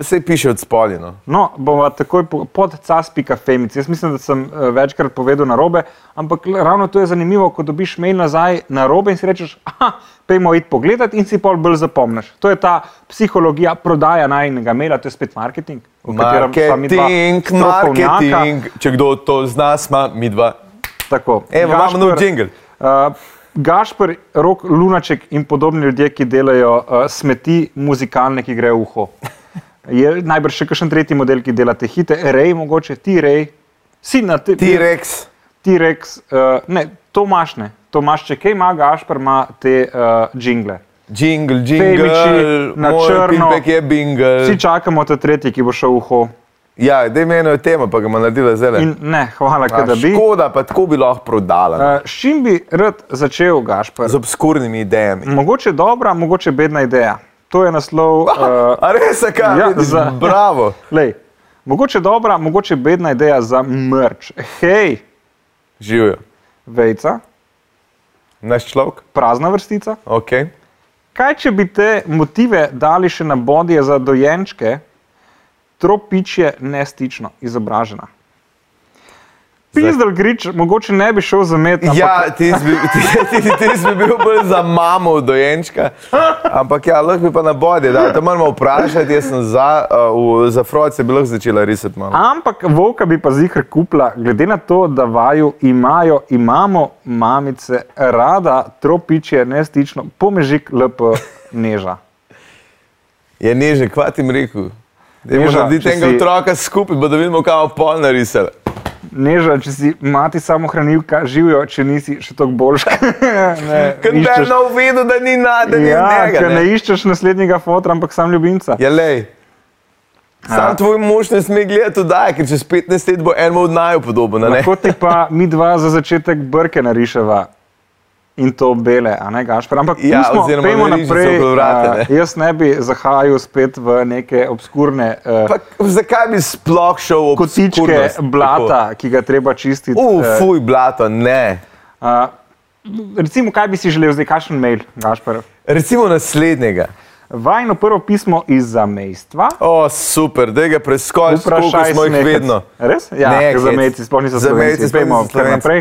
[SPEAKER 3] Vse piše od spoljeno.
[SPEAKER 2] No, bomo takoj po- pod cas.femic. Jaz mislim, da sem eh, večkrat povedal na robe, ampak l- ravno to je zanimivo, ko dobiš mail nazaj na robe in si rečeš, ah, pejmo id pogledati in si pol bolj zapomniš. To je ta psihologija prodaja najnega maila, to je spet marketing. v katerem sva midva
[SPEAKER 3] Marketing,
[SPEAKER 2] strokovnjaka.
[SPEAKER 3] marketing, če kdo to zna, sma mi dva.
[SPEAKER 2] Tako.
[SPEAKER 3] Evo, imamo nov jingle.
[SPEAKER 2] Uh, Gašpr, Rok Lunaček in podobni ljudje, ki delajo uh, smeti muzikalne, ki grejo
[SPEAKER 3] (laughs)
[SPEAKER 2] v uho. Je najbrž še kakšen tretji model, ki dela te hite, rej, mogoče ti rej, si na te.
[SPEAKER 3] T-Rex,
[SPEAKER 2] T-Rex, uh, ne, Tomaš ne. Tomaš, če kaj ima, Gašpr ima te uh, jingle.
[SPEAKER 3] jingle, jingle,
[SPEAKER 2] Femiči, na
[SPEAKER 3] moj
[SPEAKER 2] črno.
[SPEAKER 3] pimpek je bingle.
[SPEAKER 2] Vsi čakamo ta tretji, ki bo šel v uho.
[SPEAKER 3] Ja, da imenojo temo, pa ga bomo naredili zdaj.
[SPEAKER 2] In ne, hvala,
[SPEAKER 3] A,
[SPEAKER 2] ker da bi.
[SPEAKER 3] Škoda, pa tako bi lahko prodala. no.
[SPEAKER 2] Uh, s čim bi rad začel, Gašpr?
[SPEAKER 3] Z obskurnimi idejami.
[SPEAKER 2] Mogoče dobra, mogoče bedna ideja. To je
[SPEAKER 3] (laughs)
[SPEAKER 2] naslov. Uh,
[SPEAKER 3] A res, a kaj?
[SPEAKER 2] ja,
[SPEAKER 3] Ja, vidiš,
[SPEAKER 2] za-
[SPEAKER 3] za... Bravo.
[SPEAKER 2] lej, mogoče dobra, mogoče bedna ideja za mrč. Hej,
[SPEAKER 3] Živijo.
[SPEAKER 2] vejca,
[SPEAKER 3] Naš človek?
[SPEAKER 2] prazna vrstica.
[SPEAKER 3] Ok.
[SPEAKER 2] Kaj, če bi te motive dali še na bodje za dojenčke, tropič je nestično izobražena. Pizdel grič, mogoče ne bi šel za met.
[SPEAKER 3] Ja, ti si bil- ti- ti- ti- ti si bil bolj za mamo od dojenčka. Ampak ja, lahko bi pa na bodje, da to moramo vprašati. Jaz sem za, uh, v, za Frojce bi lahko začela risati malo.
[SPEAKER 2] Ampak volka bi pa zihar kupila, glede na to, da vaju imajo, imamo mamice rada, tropiče, nestično, pomežik lp neža.
[SPEAKER 3] Je neže, kva ti rekel. Da je
[SPEAKER 2] Neža,
[SPEAKER 3] možno narediti
[SPEAKER 2] če
[SPEAKER 3] enega
[SPEAKER 2] si-
[SPEAKER 3] otroka skupaj, pa da vidimo, kaj bo pol narisala.
[SPEAKER 2] Neža, če si mati samohranilka, živijo, če nisi še tako boljša. (laughs) ne,
[SPEAKER 3] Ker te je
[SPEAKER 2] iščeš-
[SPEAKER 3] nov vedel, da ni nada, ni
[SPEAKER 2] Ja,
[SPEAKER 3] njega.
[SPEAKER 2] ker ne
[SPEAKER 3] Ne.
[SPEAKER 2] iščeš naslednjega fotra, ampak sam ljubimca.
[SPEAKER 3] Ja, lej.
[SPEAKER 2] Ja.
[SPEAKER 3] Sam tvoj mož ne sme gledati oddaje, ker čez 15 let bo enemu od naju podoben. a ne?
[SPEAKER 2] Lahko ti pa mi dva za začetek brke nariševa. In to bele, a ne gašpr. Ampak
[SPEAKER 3] Ja,
[SPEAKER 2] pustimo,
[SPEAKER 3] oziroma
[SPEAKER 2] pojdimo
[SPEAKER 3] verižico
[SPEAKER 2] naprej.
[SPEAKER 3] okoli vrata,
[SPEAKER 2] A,
[SPEAKER 3] ne.
[SPEAKER 2] jaz ne bi zahajal spet v neke obskurne eh,
[SPEAKER 3] Pa, zakaj bi sploh šel ob
[SPEAKER 2] kotičke
[SPEAKER 3] obskurnost? Tako.
[SPEAKER 2] blata, ki ga je treba čistiti.
[SPEAKER 3] Uf,
[SPEAKER 2] eh,
[SPEAKER 3] fuj, blato, ne.
[SPEAKER 2] a, recimo, kaj bi si želel zdaj, kakšen mail, Gašpr?
[SPEAKER 3] Recimo naslednjega.
[SPEAKER 2] Vajno prvo pismo iz zamejstva.
[SPEAKER 3] O, super, da ga preskočiš,
[SPEAKER 2] Pač
[SPEAKER 3] koliko
[SPEAKER 2] Vprašaj
[SPEAKER 3] smo jih
[SPEAKER 2] smehec.
[SPEAKER 3] vedno. (laughs)
[SPEAKER 2] Res? Ja,
[SPEAKER 3] Ne, hec.
[SPEAKER 2] zamejci, sploh niso
[SPEAKER 3] Zamejci sploh
[SPEAKER 2] zamejci, spemo
[SPEAKER 3] niso Slovenci.
[SPEAKER 2] naprej.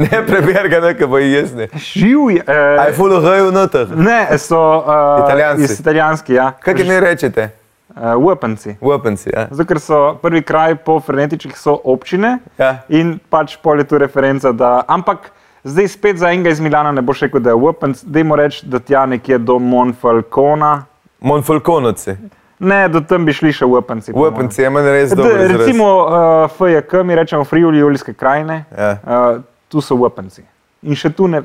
[SPEAKER 3] ne preber ga, nekaj bo jezni.
[SPEAKER 2] Živ je.
[SPEAKER 3] A je
[SPEAKER 2] Eh,
[SPEAKER 3] full hojo noter.
[SPEAKER 2] ne, so uh,
[SPEAKER 3] Italijanci.
[SPEAKER 2] iz italijanski, ja.
[SPEAKER 3] Kaj jim ne rečete?
[SPEAKER 2] Uh, Upanci.
[SPEAKER 3] Vopenci, ja.
[SPEAKER 2] Zato, ker so prvi kraj po Frenetičih so občine
[SPEAKER 3] Ja.
[SPEAKER 2] in pač pol je tu referenca, da, ampak zdaj spet za enega iz Milana ne bo še rekel, da je Upanc, dajmo reči, da tja nekje do Monfalcona,
[SPEAKER 3] Monfalkonoci.
[SPEAKER 2] ne, do tam bi šli še Upanci. po mojem.
[SPEAKER 3] Vopenci, ja, meni res dobro.
[SPEAKER 2] Da, Recimo uh, FJK, mi rečemo Friuli, Julijske krajine,
[SPEAKER 3] Ja.
[SPEAKER 2] uh, tu so upanci. In še tu ne,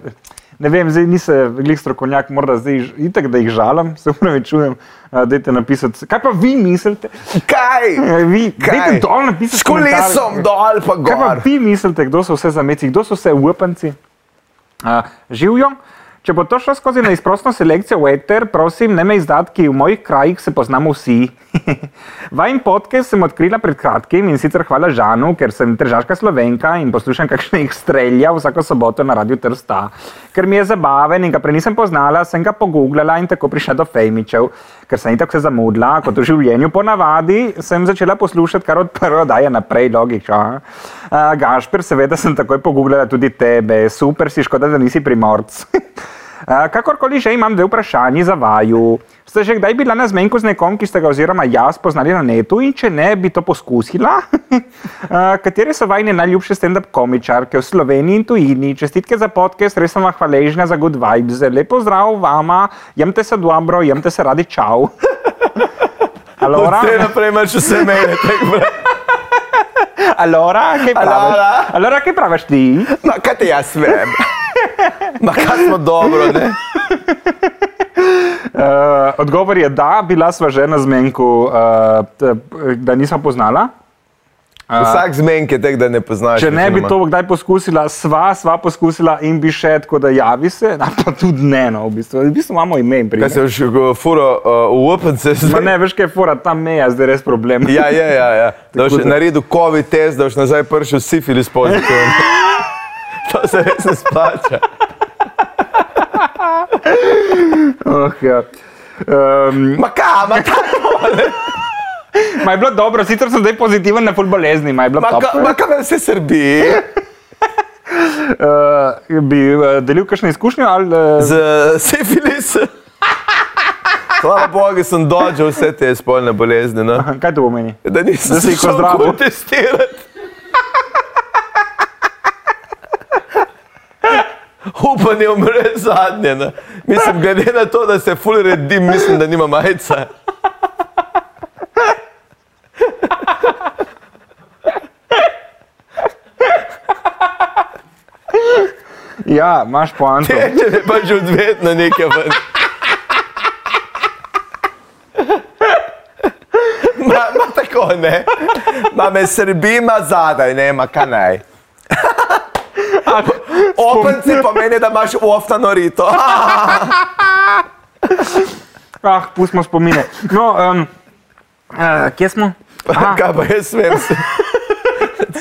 [SPEAKER 2] ne vem, zdaj nisem glih strokovnjak, morda zdaj ž- itak, da jih žalim, (laughs) se upravičujem, uh, dajte napisati. Kaj pa vi mislite? (laughs)
[SPEAKER 3] Kaj?
[SPEAKER 2] Eh, Vi, dajte
[SPEAKER 3] Kaj?
[SPEAKER 2] dol napisati.
[SPEAKER 3] S kolesom
[SPEAKER 2] komentarje.
[SPEAKER 3] dol pa
[SPEAKER 2] Kaj pa
[SPEAKER 3] gor.
[SPEAKER 2] vi mislite, kdo so vse zameci, kdo so vse upanci? Uh, živijo. Če bo to šlo skozi neizprostno selekcijo v eter, prosim, ne me izdatki, v mojih krajih se poznamo vsi. (laughs) Vajn podcast sem odkrila pred kratkim in sicer hvala Žanu, ker sem tržaška slovenka in poslušam, kakšne jih strelja vsako soboto na radiju Trsta. Ker mi je zabaven in ga prej nisem poznala, sem ga pogooglala in tako prišla do Fejmičev. Ker sem itak se zamudila, kot v življenju ponavadi, sem začela poslušati kar od prve daje naprej, logično. Uh, Gašper, seveda sem takoj pogooglala tudi tebe, super si, škoda, da nisi primorc. (laughs) Eh, Kakorkoli že imam dve vprašanji za vaju. Ste že kdaj bila na zmenku z nekom, ki ste ga oziroma jaz poznali na netu in če ne bi to poskusila? (laughs) Eh, Katere so vajne najljubše stand-up komičarke v Sloveniji in tujini? Čestitke za podcast, res sem vam hvaležna za good vibes. Lepo zdrav vama, jemte se dobro, jemte se radi čau. (laughs) Alora,
[SPEAKER 3] Vse naprej imaš vse mene, tako da.
[SPEAKER 2] alora, kaj praviš?
[SPEAKER 3] Alora.
[SPEAKER 2] Alora, kaj praviš ti?
[SPEAKER 3] Ma kaj te jaz vem? Ma kaj smo dobro, ne?
[SPEAKER 2] Uh, odgovor je, da, bila sva že na zmenku, uh, t- da nisem poznala.
[SPEAKER 3] Vsak zmenk je tak, da ne poznaš.
[SPEAKER 2] Če ne bi
[SPEAKER 3] večinoma.
[SPEAKER 2] to kdaj poskusila, sva, sva poskusila in bi še tako, da javi se, (laughs) a pa tudi ne, no, v bistvu, v bistvu imamo ime in
[SPEAKER 3] Kaj se
[SPEAKER 2] primek.
[SPEAKER 3] boš go- furo uh, uopen se
[SPEAKER 2] Ma
[SPEAKER 3] zdaj?
[SPEAKER 2] ne, veš, kaj je fora, ta meja je zdaj res problem.
[SPEAKER 3] Ja, ja, ja. ja. Da boš
[SPEAKER 2] Tako da-
[SPEAKER 3] naredil COVID test, da boš nazaj prišel sifilis pozitiven. (laughs) to se res ne splača.
[SPEAKER 2] (laughs) Oh, ja. Um,
[SPEAKER 3] Ma kaj, ma kaj,
[SPEAKER 2] ma je bilo dobro, sicer sem zdaj pozitiven na full bolezni, ma je bilo
[SPEAKER 3] ma
[SPEAKER 2] top.
[SPEAKER 3] kaj, ma kaj me vse srbi.
[SPEAKER 2] Uh, bi uh, delil kakšno izkušnjo ali... Uh,
[SPEAKER 3] Z eh, sifilis. (laughs) Hvala Bogu, sem dožil vse te spolne bolezni. No?
[SPEAKER 2] eh, kaj to pomeni?
[SPEAKER 3] Da nisem
[SPEAKER 2] Da si
[SPEAKER 3] se
[SPEAKER 2] jih pozdravil.
[SPEAKER 3] šel testirati. (laughs) Upanje umre zadnje. Ne? Mislim, glede na to, da se ful redim, mislim, da nima majica.
[SPEAKER 2] Ja, imaš
[SPEAKER 3] (laughs)
[SPEAKER 2] poanto.
[SPEAKER 3] Teče me pa že odvedno nekaj ven. Ma, ma tako ne. Ma me srbi, ma zadaj, ne, ma kaj
[SPEAKER 2] (laughs)
[SPEAKER 3] naj. Openci pomeni, da imaš uofnano (laughs) rito.
[SPEAKER 2] Ah, pustimo spomine. No, um, uh, kje smo? Aha,
[SPEAKER 3] Kaj pa jaz
[SPEAKER 2] (laughs)
[SPEAKER 3] vem? se-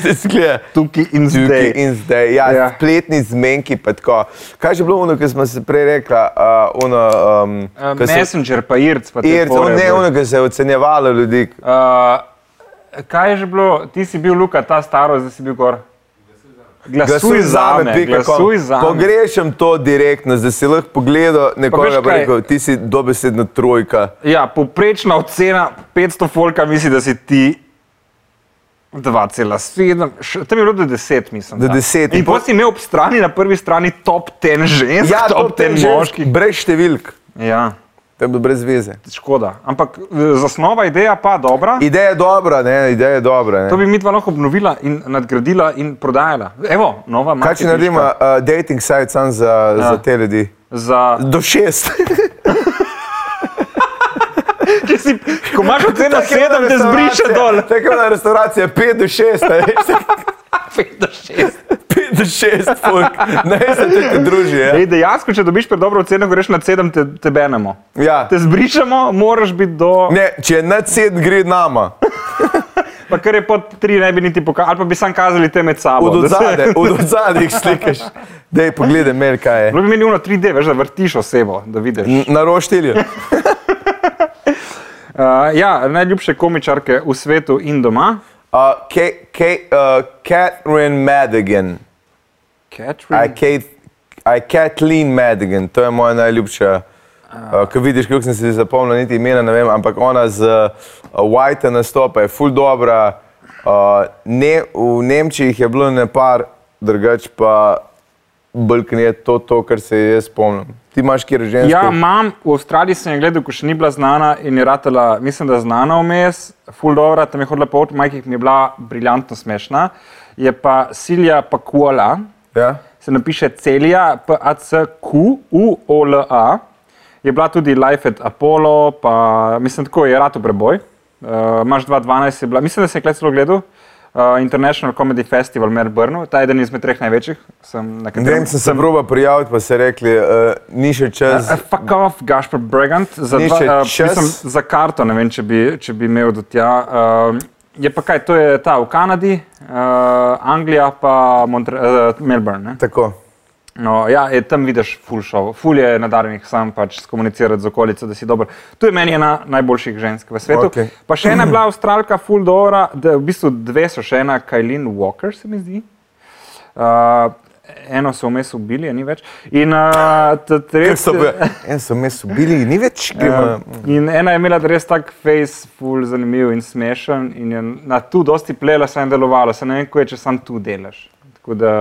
[SPEAKER 3] Se sklije.
[SPEAKER 2] tukaj in
[SPEAKER 3] Tukaj
[SPEAKER 2] zdaj.
[SPEAKER 3] in zdaj, ja,
[SPEAKER 2] Ja.
[SPEAKER 3] ja. spletni zmenki, pa tako. Kaj je že bilo ono, ki smo se prej rekla, uh, ono, um,
[SPEAKER 2] Uh,
[SPEAKER 3] ko se,
[SPEAKER 2] Messenger, pa IRC. Pa te
[SPEAKER 3] Irc,
[SPEAKER 2] fore
[SPEAKER 3] ne,
[SPEAKER 2] bolj.
[SPEAKER 3] ono, ki se je ocenjevalo ljudi,
[SPEAKER 2] Uh, kaj je že bilo, ti si bil Luka, ta staro, zdaj si bil gor. Glasuj za me,
[SPEAKER 3] pika com.
[SPEAKER 2] glasuj za me.
[SPEAKER 3] Pogrešam to direktno, zdaj si lahko pogledal nekoga
[SPEAKER 2] veš
[SPEAKER 3] in
[SPEAKER 2] kaj?
[SPEAKER 3] rekel, ti si dobesedno trojka.
[SPEAKER 2] Ja, poprečna ocena 500 folka misli, da si ti 2,7, še- tam je bilo do 10, mislim.
[SPEAKER 3] Do
[SPEAKER 2] da.
[SPEAKER 3] 10.
[SPEAKER 2] In potem si imel ob strani, na prvi strani top 10 žensk, ja, top 10
[SPEAKER 3] žensk
[SPEAKER 2] moških.
[SPEAKER 3] Brez številk,
[SPEAKER 2] Ja,
[SPEAKER 3] to je bilo brez veze.
[SPEAKER 2] škoda. Ampak eh, zasnova, ideja pa dobra.
[SPEAKER 3] Ideja je dobra, ne, ideja je dobra.
[SPEAKER 2] To
[SPEAKER 3] Ne.
[SPEAKER 2] bi mi dva lahko obnovila in nadgradila in prodajala. Evo, nova marketinška.
[SPEAKER 3] Kaj če naredimo uh, dating sajt sam za, ja. za te ljudi?
[SPEAKER 2] Za
[SPEAKER 3] Do šest.
[SPEAKER 2] Če si, ko imaš
[SPEAKER 3] (laughs)
[SPEAKER 2] oceno
[SPEAKER 3] Tako je bila
[SPEAKER 2] 7, te zbriše
[SPEAKER 3] restavracija-
[SPEAKER 2] dol.
[SPEAKER 3] (laughs) Tako je bila restauracija, pet do šest, a veš,
[SPEAKER 2] 5 do 6.
[SPEAKER 3] (laughs) pet do šest, folk. ne se te druži. Ja.
[SPEAKER 2] Ej, dejansko, če dobiš predobro oceno, greš na 7, te, te benemo.
[SPEAKER 3] Ja.
[SPEAKER 2] Te zbrišemo, moraš biti do. Ne.
[SPEAKER 3] Ne, če je nad sedem, gre nama.
[SPEAKER 2] Pa kar je pod 3, ne bi niti pokazali, ali pa bi sam kazali te med sabo.
[SPEAKER 3] Od
[SPEAKER 2] da se- (laughs)
[SPEAKER 3] zadaj, od zadaj jih slikaš. Dej, pogledaj, mer kaj je.
[SPEAKER 2] Bilo bi meni uno 3D, veš, da vrtiš osebo, da vidiš.
[SPEAKER 3] N- Na roštilju.
[SPEAKER 2] Uh, ja, najljubše komičarke v svetu in doma.
[SPEAKER 3] Uh, Ka- Ka- uh, Catherine Madigan. I,
[SPEAKER 2] Catherine.
[SPEAKER 3] Kate, I Kathleen Madigan, to je moja najljubša. Uh, ko vidiš, kako sem si zapomnil, niti imena ne vem, ampak ona z uh, White nastopa je full dobra. Uh, ne, v Nemčiji jih je bilo ne par, drugač pa Balkan je to, to, kar se jaz spomnim. Ti imaš kjer žensko?
[SPEAKER 2] Ja, imam, v Avstraliji sem jo gledal, ko še ni bila znana in je ratela, mislim, da znana vmes, full dobro, tam je hodila po avtomajkih, mi je bila briljantno smešna. Je pa Silja Pakuala,
[SPEAKER 3] ja?
[SPEAKER 2] se napiše Celija, P-A-C-Q-U-O-L-A. Je bila tudi Life at Apollo, pa mislim, tako je rato preboj. Uh, Maš 2012 je bila, mislim, da sem jih le celo gledal. Uh, International Comedy Festival v Melbournu, ta je eden izmed treh največjih, sem
[SPEAKER 3] Ne vem,
[SPEAKER 2] na katerem
[SPEAKER 3] sem se proba prijaviti, pa se rekli, uh, ni še čas.
[SPEAKER 2] Uh, fuck off, Gašpor Bregant, za,
[SPEAKER 3] Ni
[SPEAKER 2] dva,
[SPEAKER 3] še
[SPEAKER 2] uh,
[SPEAKER 3] čas.
[SPEAKER 2] mislim, za karto, ne vem, če bi, če bi imel do tja. Uh, je pa kaj, to je ta v Kanadi, uh, Anglija pa Montre uh, Melbourne. ne.
[SPEAKER 3] Tako.
[SPEAKER 2] No, ja, je, tam vidiš full show, full je nadarjenih, sam pač skomunicirati z okolico, da si dober. Tu je meni ena najboljših žensk v svetu.
[SPEAKER 3] Okej.
[SPEAKER 2] Pa še ena je bila avstralka, full dora, da, v bistvu dve so še ena, Kajlin Walker se mi zdi. Uh, eno so vmes ubili, je ni več. In, uh,
[SPEAKER 3] En so,
[SPEAKER 2] tretji,
[SPEAKER 3] bili- en so mes ubili, ni več, gremo.
[SPEAKER 2] in ena je imela res tak face, full, zanimiv in smešen. In je na tu dosti plela, se je delovalo, se ne vem, kaj je, če sam tu delaš. Tako da,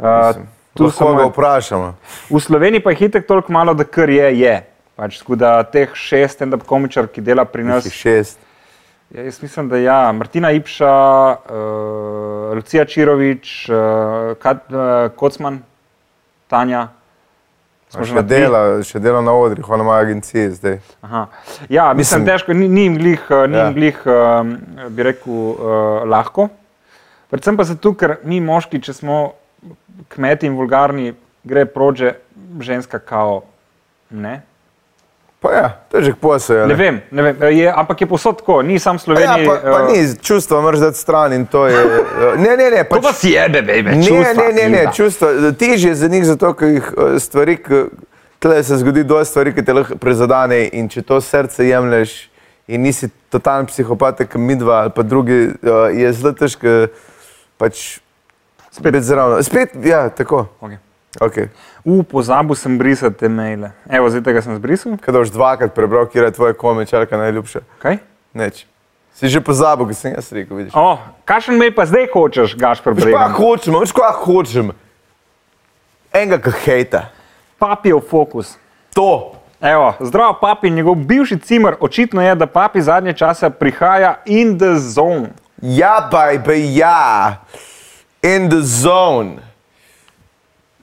[SPEAKER 2] uh, tu
[SPEAKER 3] Tu smo ga
[SPEAKER 2] samo,
[SPEAKER 3] vprašamo.
[SPEAKER 2] v Sloveniji pa je hitek toliko malo, da kar je. je. Pač, tako da teh šest stand-up komičar, ki dela pri nas,
[SPEAKER 3] Jih je Šest.
[SPEAKER 2] Ja, jaz mislim, da ja. Martina Ipša, uh, Lucija Čirovič, uh, Kat, uh, Kocman, Tanja. Smo
[SPEAKER 3] Še
[SPEAKER 2] na tri?
[SPEAKER 3] dela, še dela na odrih, ona ima agencije zdaj.
[SPEAKER 2] Aha. Ja,
[SPEAKER 3] Mislim-
[SPEAKER 2] mislim, mislim, težko, ni, ni jim glih, eh, ni
[SPEAKER 3] Ja.
[SPEAKER 2] jim glih um, bi rekel, uh, lahko. Predvsem pa zato, ker mi moški, če smo kmeti in vulgarni, gre prođe ženska kao. Ne?
[SPEAKER 3] Pa ja, to je že k posel.
[SPEAKER 2] Ne vem, ne vem je, ampak je posod tako, ni sam
[SPEAKER 3] Ja,
[SPEAKER 2] Slovenija.
[SPEAKER 3] pa, pa ni, čustva moraš dati stran in to je. eh, Ne, ne, ne.
[SPEAKER 2] eh, To pa si jebe, bebe.
[SPEAKER 3] pač- Ne, ne, ne, ne čustva. Težje je za njih, zato ker jih eh, stvari, tukaj se zgodi dosta stvari, ki te lahko prezadane in če to srce jemliš in nisi totalen psihopat, kot midva ali pa drugi, eh, je zelo težko pač
[SPEAKER 2] Spet.
[SPEAKER 3] spet zraven. Spet, ja, tako.
[SPEAKER 2] Okay.
[SPEAKER 3] Okay.
[SPEAKER 2] U, pozabil sem brisati te maile. Evo, zdaj tega sem zbrisal.
[SPEAKER 3] Kaj da boš dvakrat prebral, kje je tvoja komičarka najljubša?
[SPEAKER 2] Kaj?
[SPEAKER 3] Neč. Si že pozabil, kaj sem jaz rekel, vidiš.
[SPEAKER 2] O, kakšen mail pa zdaj hočeš, Gašpor
[SPEAKER 3] Veš, kaj
[SPEAKER 2] Bregan?
[SPEAKER 3] hočem, veš, kaj hočem. Enega, ki hejta.
[SPEAKER 2] Papijev fokus.
[SPEAKER 3] To.
[SPEAKER 2] Evo, zdrav papi, njegov bivši cimer, očitno je, da papi zadnje čase prihaja in the zone.
[SPEAKER 3] Ja, bajbe, ja. In the zone.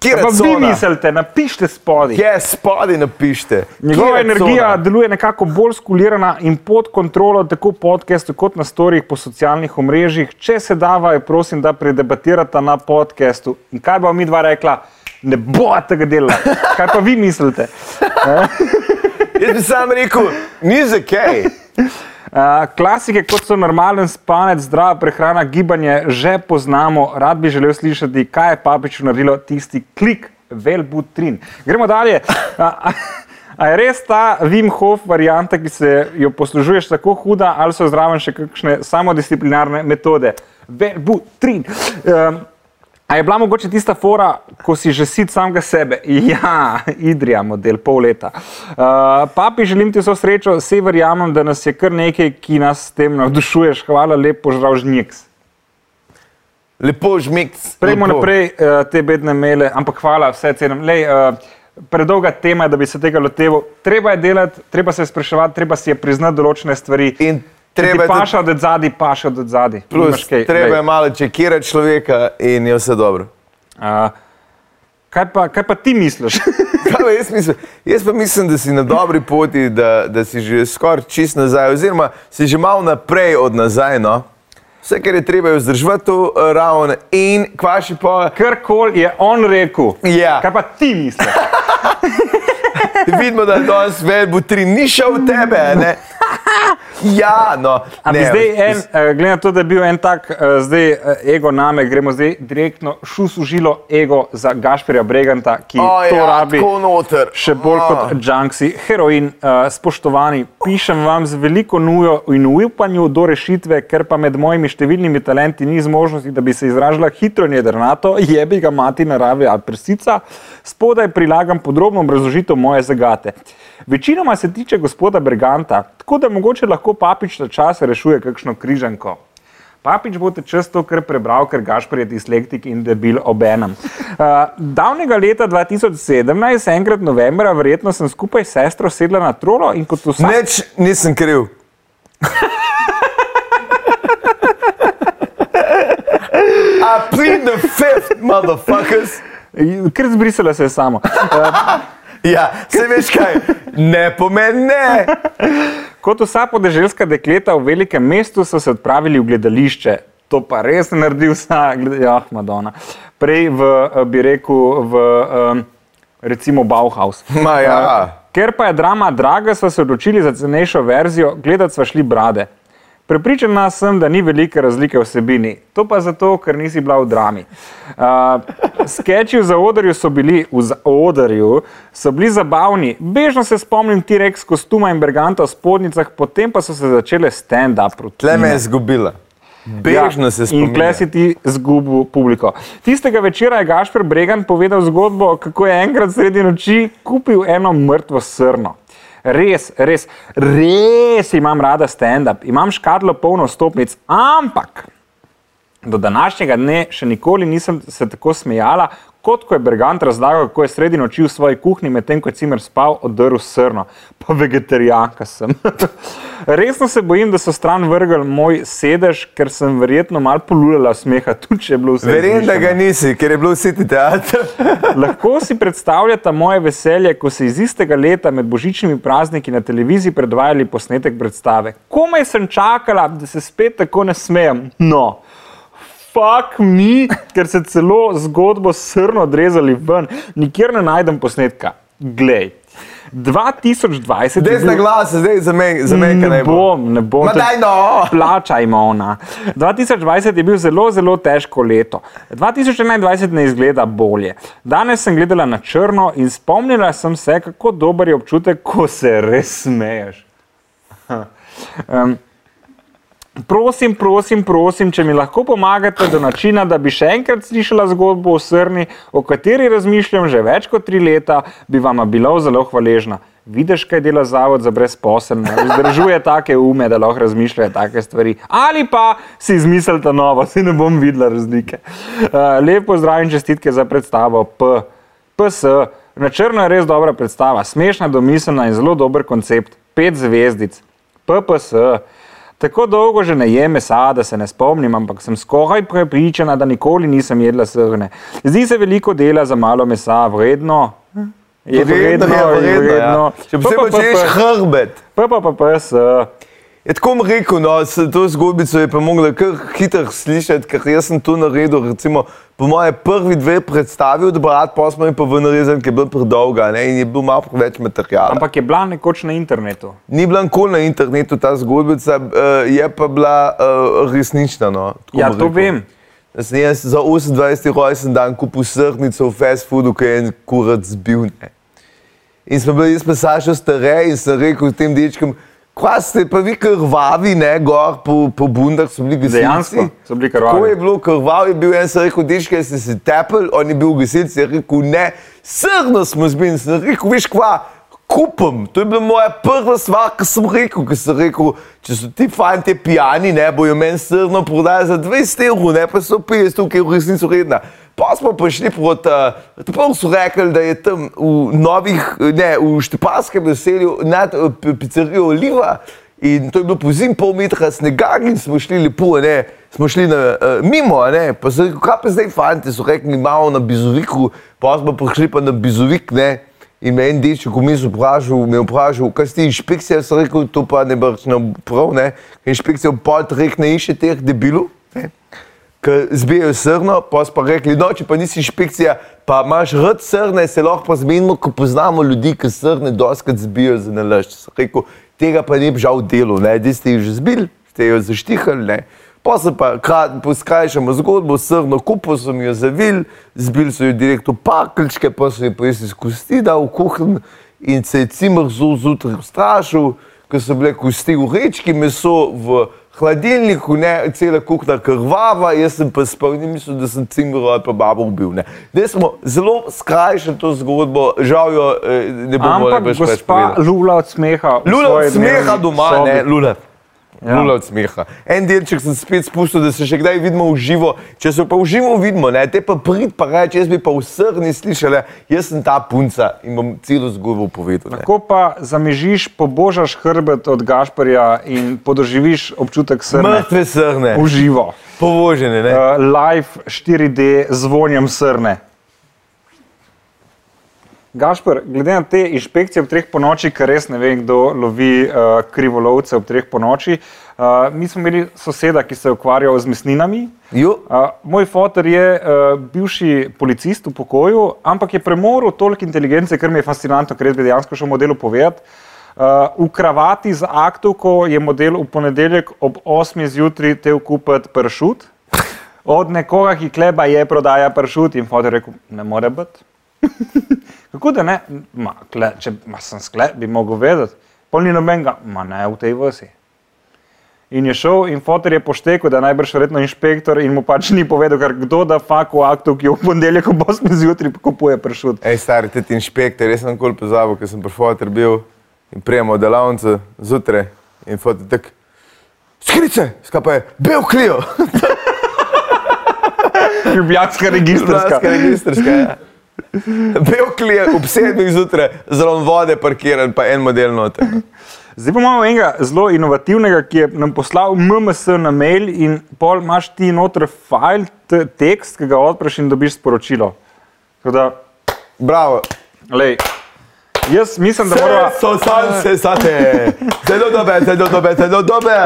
[SPEAKER 3] Kje
[SPEAKER 2] Pa
[SPEAKER 3] je
[SPEAKER 2] vi
[SPEAKER 3] zona?
[SPEAKER 2] mislite, napišite spodaj.
[SPEAKER 3] Kje je spodaj napišite?
[SPEAKER 2] Njegova
[SPEAKER 3] Kje je
[SPEAKER 2] energija
[SPEAKER 3] cona?
[SPEAKER 2] deluje nekako bolj skulirana in pod kontrolo tako podcastu kot na storjih po socialnih omrežjih. Če se dava, je prosim, da predebatirata na podcastu. In kaj bo mi dva rekla? Ne bo tega dela. Kaj pa vi mislite?
[SPEAKER 3] Jaz bi sam rekel, ni za kaj.
[SPEAKER 2] Uh, klasike, kot so normalen spanec, zdrava prehrana, gibanje, že poznamo. Rad bi želel slišati, kaj je papiču naredilo tisti klik, velbutrin. Gremo dalje. A, a, a je res ta Vim Hof varianta, ki se jo poslužuješ tako huda, ali so zraven še kakšne samodisciplinarne metode? Velbutrin. Um, A je bila mogoče tista fora, ko si že sit samega sebe? (laughs) Ja, Idrija, model pol leta. Uh, papi, želim ti vso srečo, se verjamem, da nas je kar nekaj, ki nas s tem navdušuješ. Hvala, lep požral žnjiks.
[SPEAKER 3] Lepo žmiks.
[SPEAKER 2] Prejmo
[SPEAKER 3] lepo.
[SPEAKER 2] naprej uh, te bedne mele, ampak hvala, vse cenim. Lej, uh, predolga tema je, da bi se tega loteval. Treba je delati, treba se je spraševati, treba si je priznati določene stvari.
[SPEAKER 3] In
[SPEAKER 2] Če ti
[SPEAKER 3] treba je tudi-
[SPEAKER 2] paša od zadaj, paša od zadaj.
[SPEAKER 3] Plus, treba je malo čekirati človeka in je vse dobro.
[SPEAKER 2] Uh, kaj, pa, kaj pa ti misliš? (laughs)
[SPEAKER 3] Kaj pa jaz, mislim, jaz pa mislim, da si na dobri poti, da, da si že skoraj čist nazaj, oziroma si že malo naprej od nazaj. No? Vse, kar je treba, je vzdrževati to eh, raven in kvaši pa.
[SPEAKER 2] Karkoli je on rekel,
[SPEAKER 3] Ja.
[SPEAKER 2] kaj pa ti misliš?
[SPEAKER 3] (laughs) Vidimo, da je danes velik tri, ni šel v tebe. a Ne? Ja, no.
[SPEAKER 2] A bi
[SPEAKER 3] ne,
[SPEAKER 2] Zdaj, en,
[SPEAKER 3] mislim,
[SPEAKER 2] eh, glede na to, da je bil en tak, eh, zdaj eh, ego name, gremo zdaj direktno šusužilo ego za Gašperja Breganta, ki
[SPEAKER 3] O,
[SPEAKER 2] to
[SPEAKER 3] ja,
[SPEAKER 2] rabi.
[SPEAKER 3] tako noter.
[SPEAKER 2] Še bolj kot
[SPEAKER 3] A.
[SPEAKER 2] junksi, heroin, eh, spoštovani, pišem vam z veliko nujo in upanju do rešitve, ker pa med mojimi številnimi talenti ni zmožnosti, da bi se izražala hitro in jedrnato, jebi ga mati narave ali prsica. Spodaj prilagam podrobno obrazložitev moje zagate. Večinoma se tiče gospoda Berganta, tako da mogoče lahko papič na čas rešuje kakšno križanko. Papič boste čez to kar prebral, ker Gašpor je dislektik in debil obenem. Uh, davnega leta 2017, enkrat novembra, verjetno sem skupaj s sestro sedla na trolo in kot vsak
[SPEAKER 3] Nič nisem kriv. (laughs) I plead the fifth, motherfuckers.
[SPEAKER 2] Ker zbrisala se je samo.
[SPEAKER 3] Ja, se veš kaj, ne pomeni ne.
[SPEAKER 2] Kot vsa podeželska dekleta v velikem mestu so se odpravili v gledališče. To pa res ne naredi vsa, gleda- ja, Madonna. Prej v, eh, bi rekel, v em, recimo Bauhaus.
[SPEAKER 3] Ma ja.
[SPEAKER 2] Eh, Ker pa je drama draga, so se odločili za cenejšo verzijo, gledati sva šli brade. Prepričana sem, da ni velike razlike v vsebini. To pa zato, ker nisi bila v drami. Uh, Skeči v zaodrju so bili, v zaodrju so bili zabavni. Bežno se spomnim T-Rex kostuma in Berganta v spodnicah, potem pa so se začele stand-up
[SPEAKER 3] Tle me
[SPEAKER 2] rutine.
[SPEAKER 3] je izgubila. Bežno se
[SPEAKER 2] Ja. In
[SPEAKER 3] spominja.
[SPEAKER 2] kle si ti zgubil publiko. Tistega večera je Gašpr Bregan povedal zgodbo, kako je enkrat sredi noči kupil eno mrtvo srno. Res, res, res imam rada stand-up, imam škatlo polno stopnic, ampak do današnjega dne še nikoli nisem se tako smejala, kot ko je Bergant razlagal, kako je sredi noči v svoji kuhinji, medtem ko je Cimer spal, odrl srno. Pa vegetarijanka sem. (laughs) Resno se bojim, da so stran vrgli moj sedež, ker sem verjetno mal polulala smeha, tudi če je bilo vse.
[SPEAKER 3] Verjamem, da
[SPEAKER 2] izmišljeno.
[SPEAKER 3] ga nisi, ker je bil siti
[SPEAKER 2] (laughs)
[SPEAKER 3] teater.
[SPEAKER 2] Lahko si predstavljate moje veselje, ko se iz istega leta med božičnimi prazniki na televiziji predvajali posnetek predstave. Komaj sem čakala, da se spet tako ne smejem. No. Fak mi, ker se celo zgodbo srno odrezali ven, nikjer ne najdem posnetka. Glej, 2020 je
[SPEAKER 3] Desna
[SPEAKER 2] bil- Mm,
[SPEAKER 3] glas, zdaj za men- za menjka
[SPEAKER 2] ne
[SPEAKER 3] naj bo.
[SPEAKER 2] bom, ne bom.
[SPEAKER 3] Ma
[SPEAKER 2] to-
[SPEAKER 3] daj no!
[SPEAKER 2] (laughs) Plačajmo ona. 2020 je bil zelo, zelo težko leto. 2021 ne izgleda bolje. Danes sem gledala na črno in spomnila sem se, kako dober je občutek, ko se res smeješ. Um, Prosim, prosim, prosim, če mi lahko pomagate do načina, da bi še enkrat slišala zgodbo o srni, o kateri razmišljam že več kot tri leta, bi vama bila zelo hvaležna. Vidiš, kaj dela zavod za brezposelne, vzdržuje take ume, da lahko razmišljajo take stvari. Ali pa si izmislite novo, si ne bom videla razlike. Uh, lepo zdrav in čestitke za predstavo P. PS. Na črno je res dobra predstava, smešna, domiselna in zelo dober koncept. Pet zvezdic, PPS. Tako dolgo že ne jem mesa, da se ne spomnim, ampak sem skoraj prepričana, da nikoli nisem jedla srne. Zdi se veliko dela za malo mesa, vredno. Hm? Je vredno,
[SPEAKER 3] ja,
[SPEAKER 2] je vredno.
[SPEAKER 3] Če posebej češ hrbet.
[SPEAKER 2] PPPS.
[SPEAKER 3] Je tako bom rekel, no, s to zgodbico je pa mogla kar hitro slišati, ker jaz sem to naredil, recimo, po moje prvi dve predstavi od brat, pa smo jih pa ven rezali, ker je bila predolga ne, in je bil malo preveč materijala.
[SPEAKER 2] Ampak je bila nekoč na internetu.
[SPEAKER 3] Ni bila nikoli na internetu ta zgodbica, eh, je pa bila eh, resnična. No, tako
[SPEAKER 2] Ja,
[SPEAKER 3] bom
[SPEAKER 2] to
[SPEAKER 3] rekel.
[SPEAKER 2] vem.
[SPEAKER 3] Da sem jaz za 28. rojsten dan kupil srnico v fast foodu, ki je en kurat zbil. Ne. In smo bili jaz pa Sašo stare in sem rekel tem dečkom, kva ste pa vi krvavi, ne, gor po, po bundah so bili gasilci.
[SPEAKER 2] Dejansko so bili krvavi.
[SPEAKER 3] Tako je bilo krvav, je bil en, sem rekel, dečke, ste se tepel, on je bil gasilci, je rekel, ne, srno smo zbili, sem rekel, veš kva, kupim. To je bila moja prva stvar, ki sem rekel, ki sem rekel, če so ti fanti pijani, ne bojo meni srno prodajali za 20 evrov, ne pa so 50 tukaj v resnici redna. Pa smo prišli proti, uh, pa so rekli, da je tam v novih, ne, v Štepanskem naselju nad eh, pi- picerijo Oliva in to je bilo pozim pol metra snega in smo šli lepo, a ne, smo šli na, uh, mimo, a ne, pa so rekli, kaj pa zdaj fanti, so rekli, imamo na bizoviku, pa smo prišli pa na bizovik, ne, in me je en deček vmes vprašal, me je vprašal, kaj ste inšpekcija, jaz sem rekel, to pa ne brčno prav, ne, inšpekcija v pol treh ne išče teh debilov, ne ki zbijajo srno, pa so pa rekli, no, če pa nisi inšpekcija, pa imaš rad srne, se lahko pa zmenimo, ko poznamo ljudi, ki srne doskrat zbijajo za nalašč. Sem rekel, tega pa ne bi žal delo, ne, da ste jih že zbili, ste jo zaštihali, ne. Pa se pa, krat- poskrajšamo zgodbo, srno kupo so mi jo zavili, zbili so jo direkt v pakelčke, pa so jo pa jaz izkusti dal v kuhinj in se je cimer zul zjutraj ustrašil, ko so bile kosti v rečki, meso v hladilniku, ne, cela kuhna krvava, jaz sem pa spomnil, mislim, da sem cimro ali pa babo ubil. Ne. Zdaj smo zelo skrajšali to zgodbo, žal jo eh, ne bomo
[SPEAKER 2] Ampak
[SPEAKER 3] več
[SPEAKER 2] gospa
[SPEAKER 3] povedali.
[SPEAKER 2] Lula od smeha. v
[SPEAKER 3] Lula
[SPEAKER 2] svoji
[SPEAKER 3] od smeha
[SPEAKER 2] dnevni
[SPEAKER 3] doma,
[SPEAKER 2] sobi.
[SPEAKER 3] ne, Lula.
[SPEAKER 2] Ja.
[SPEAKER 3] Ja. Lula od smeha. En delček sem spet spustil, da se še kdaj vidimo v živo. Če se pa v živo vidimo, ne, te pa prid pa reče, jaz bi pa vseh ne slišala, jaz sem ta punca in bom celo zgodbo povedal. ne.
[SPEAKER 2] Ko pa zamežiš, pobožaš hrbet od Gašparja in podoživiš občutek srne,
[SPEAKER 3] Mrtve srne,
[SPEAKER 2] uživo.
[SPEAKER 3] povožene, Torej, ne.
[SPEAKER 2] Uh, live 4D z vonjem srne. Gašpr, glede na te inšpekcije ob treh po noči, ker res ne vem, kdo lovi uh, krivolovce ob treh po noči, uh, mi smo imeli soseda, ki se je ukvarjal z mesninami.
[SPEAKER 3] Jo.
[SPEAKER 2] Uh, moj fotor je uh, bivši policist v pokoju, ampak je premoril toliko inteligence, kar mi je fascinantno, ker jaz bi dejansko šel modelu povedati. Uh, v kravati z aktovko je model v ponedeljek ob 8. zjutraj te kupiti pršut. Od nekoga, ki kleba je prodaja pršut in fotor je rekel, ne more biti. Kako da ne, ma, kle, če ma sem sklep, bi mogel vedeti. Polni nobenega, ma ne v tej vsi. In je šel in fotor je poštekel, da je najbrž verjetno inšpektor in mu pač ni povedal, ker kdo da fak v aktu, ki jo v ponedeljek ob 8 zjutraj kupuje pršut.
[SPEAKER 3] Ej, stari, ti ti inšpektor, jaz sem kul pozabil, ker sem profotor bil in prijemo delavnico zjutraj in fotor tak, skrice, skapa je, bel (laughs) klijo,
[SPEAKER 2] Ljubljanska registrska.
[SPEAKER 3] Ljubljanska registrska. Ja. (laughs) Bel klijo, ob sedmih zjutraj, zraven vode parkiran, pa en model noter.
[SPEAKER 2] Zdaj pa imamo enega zelo inovativnega, ki je nam poslal MMS na mail in pol imaš ti noter file, t- tekst, ki ga odpreš in dobiš sporočilo. Tako da,
[SPEAKER 3] Bravo.
[SPEAKER 2] lej, jaz mislim, da moramo.
[SPEAKER 3] So sance, sate, zelo dobe, zelo dobe, zelo dobe.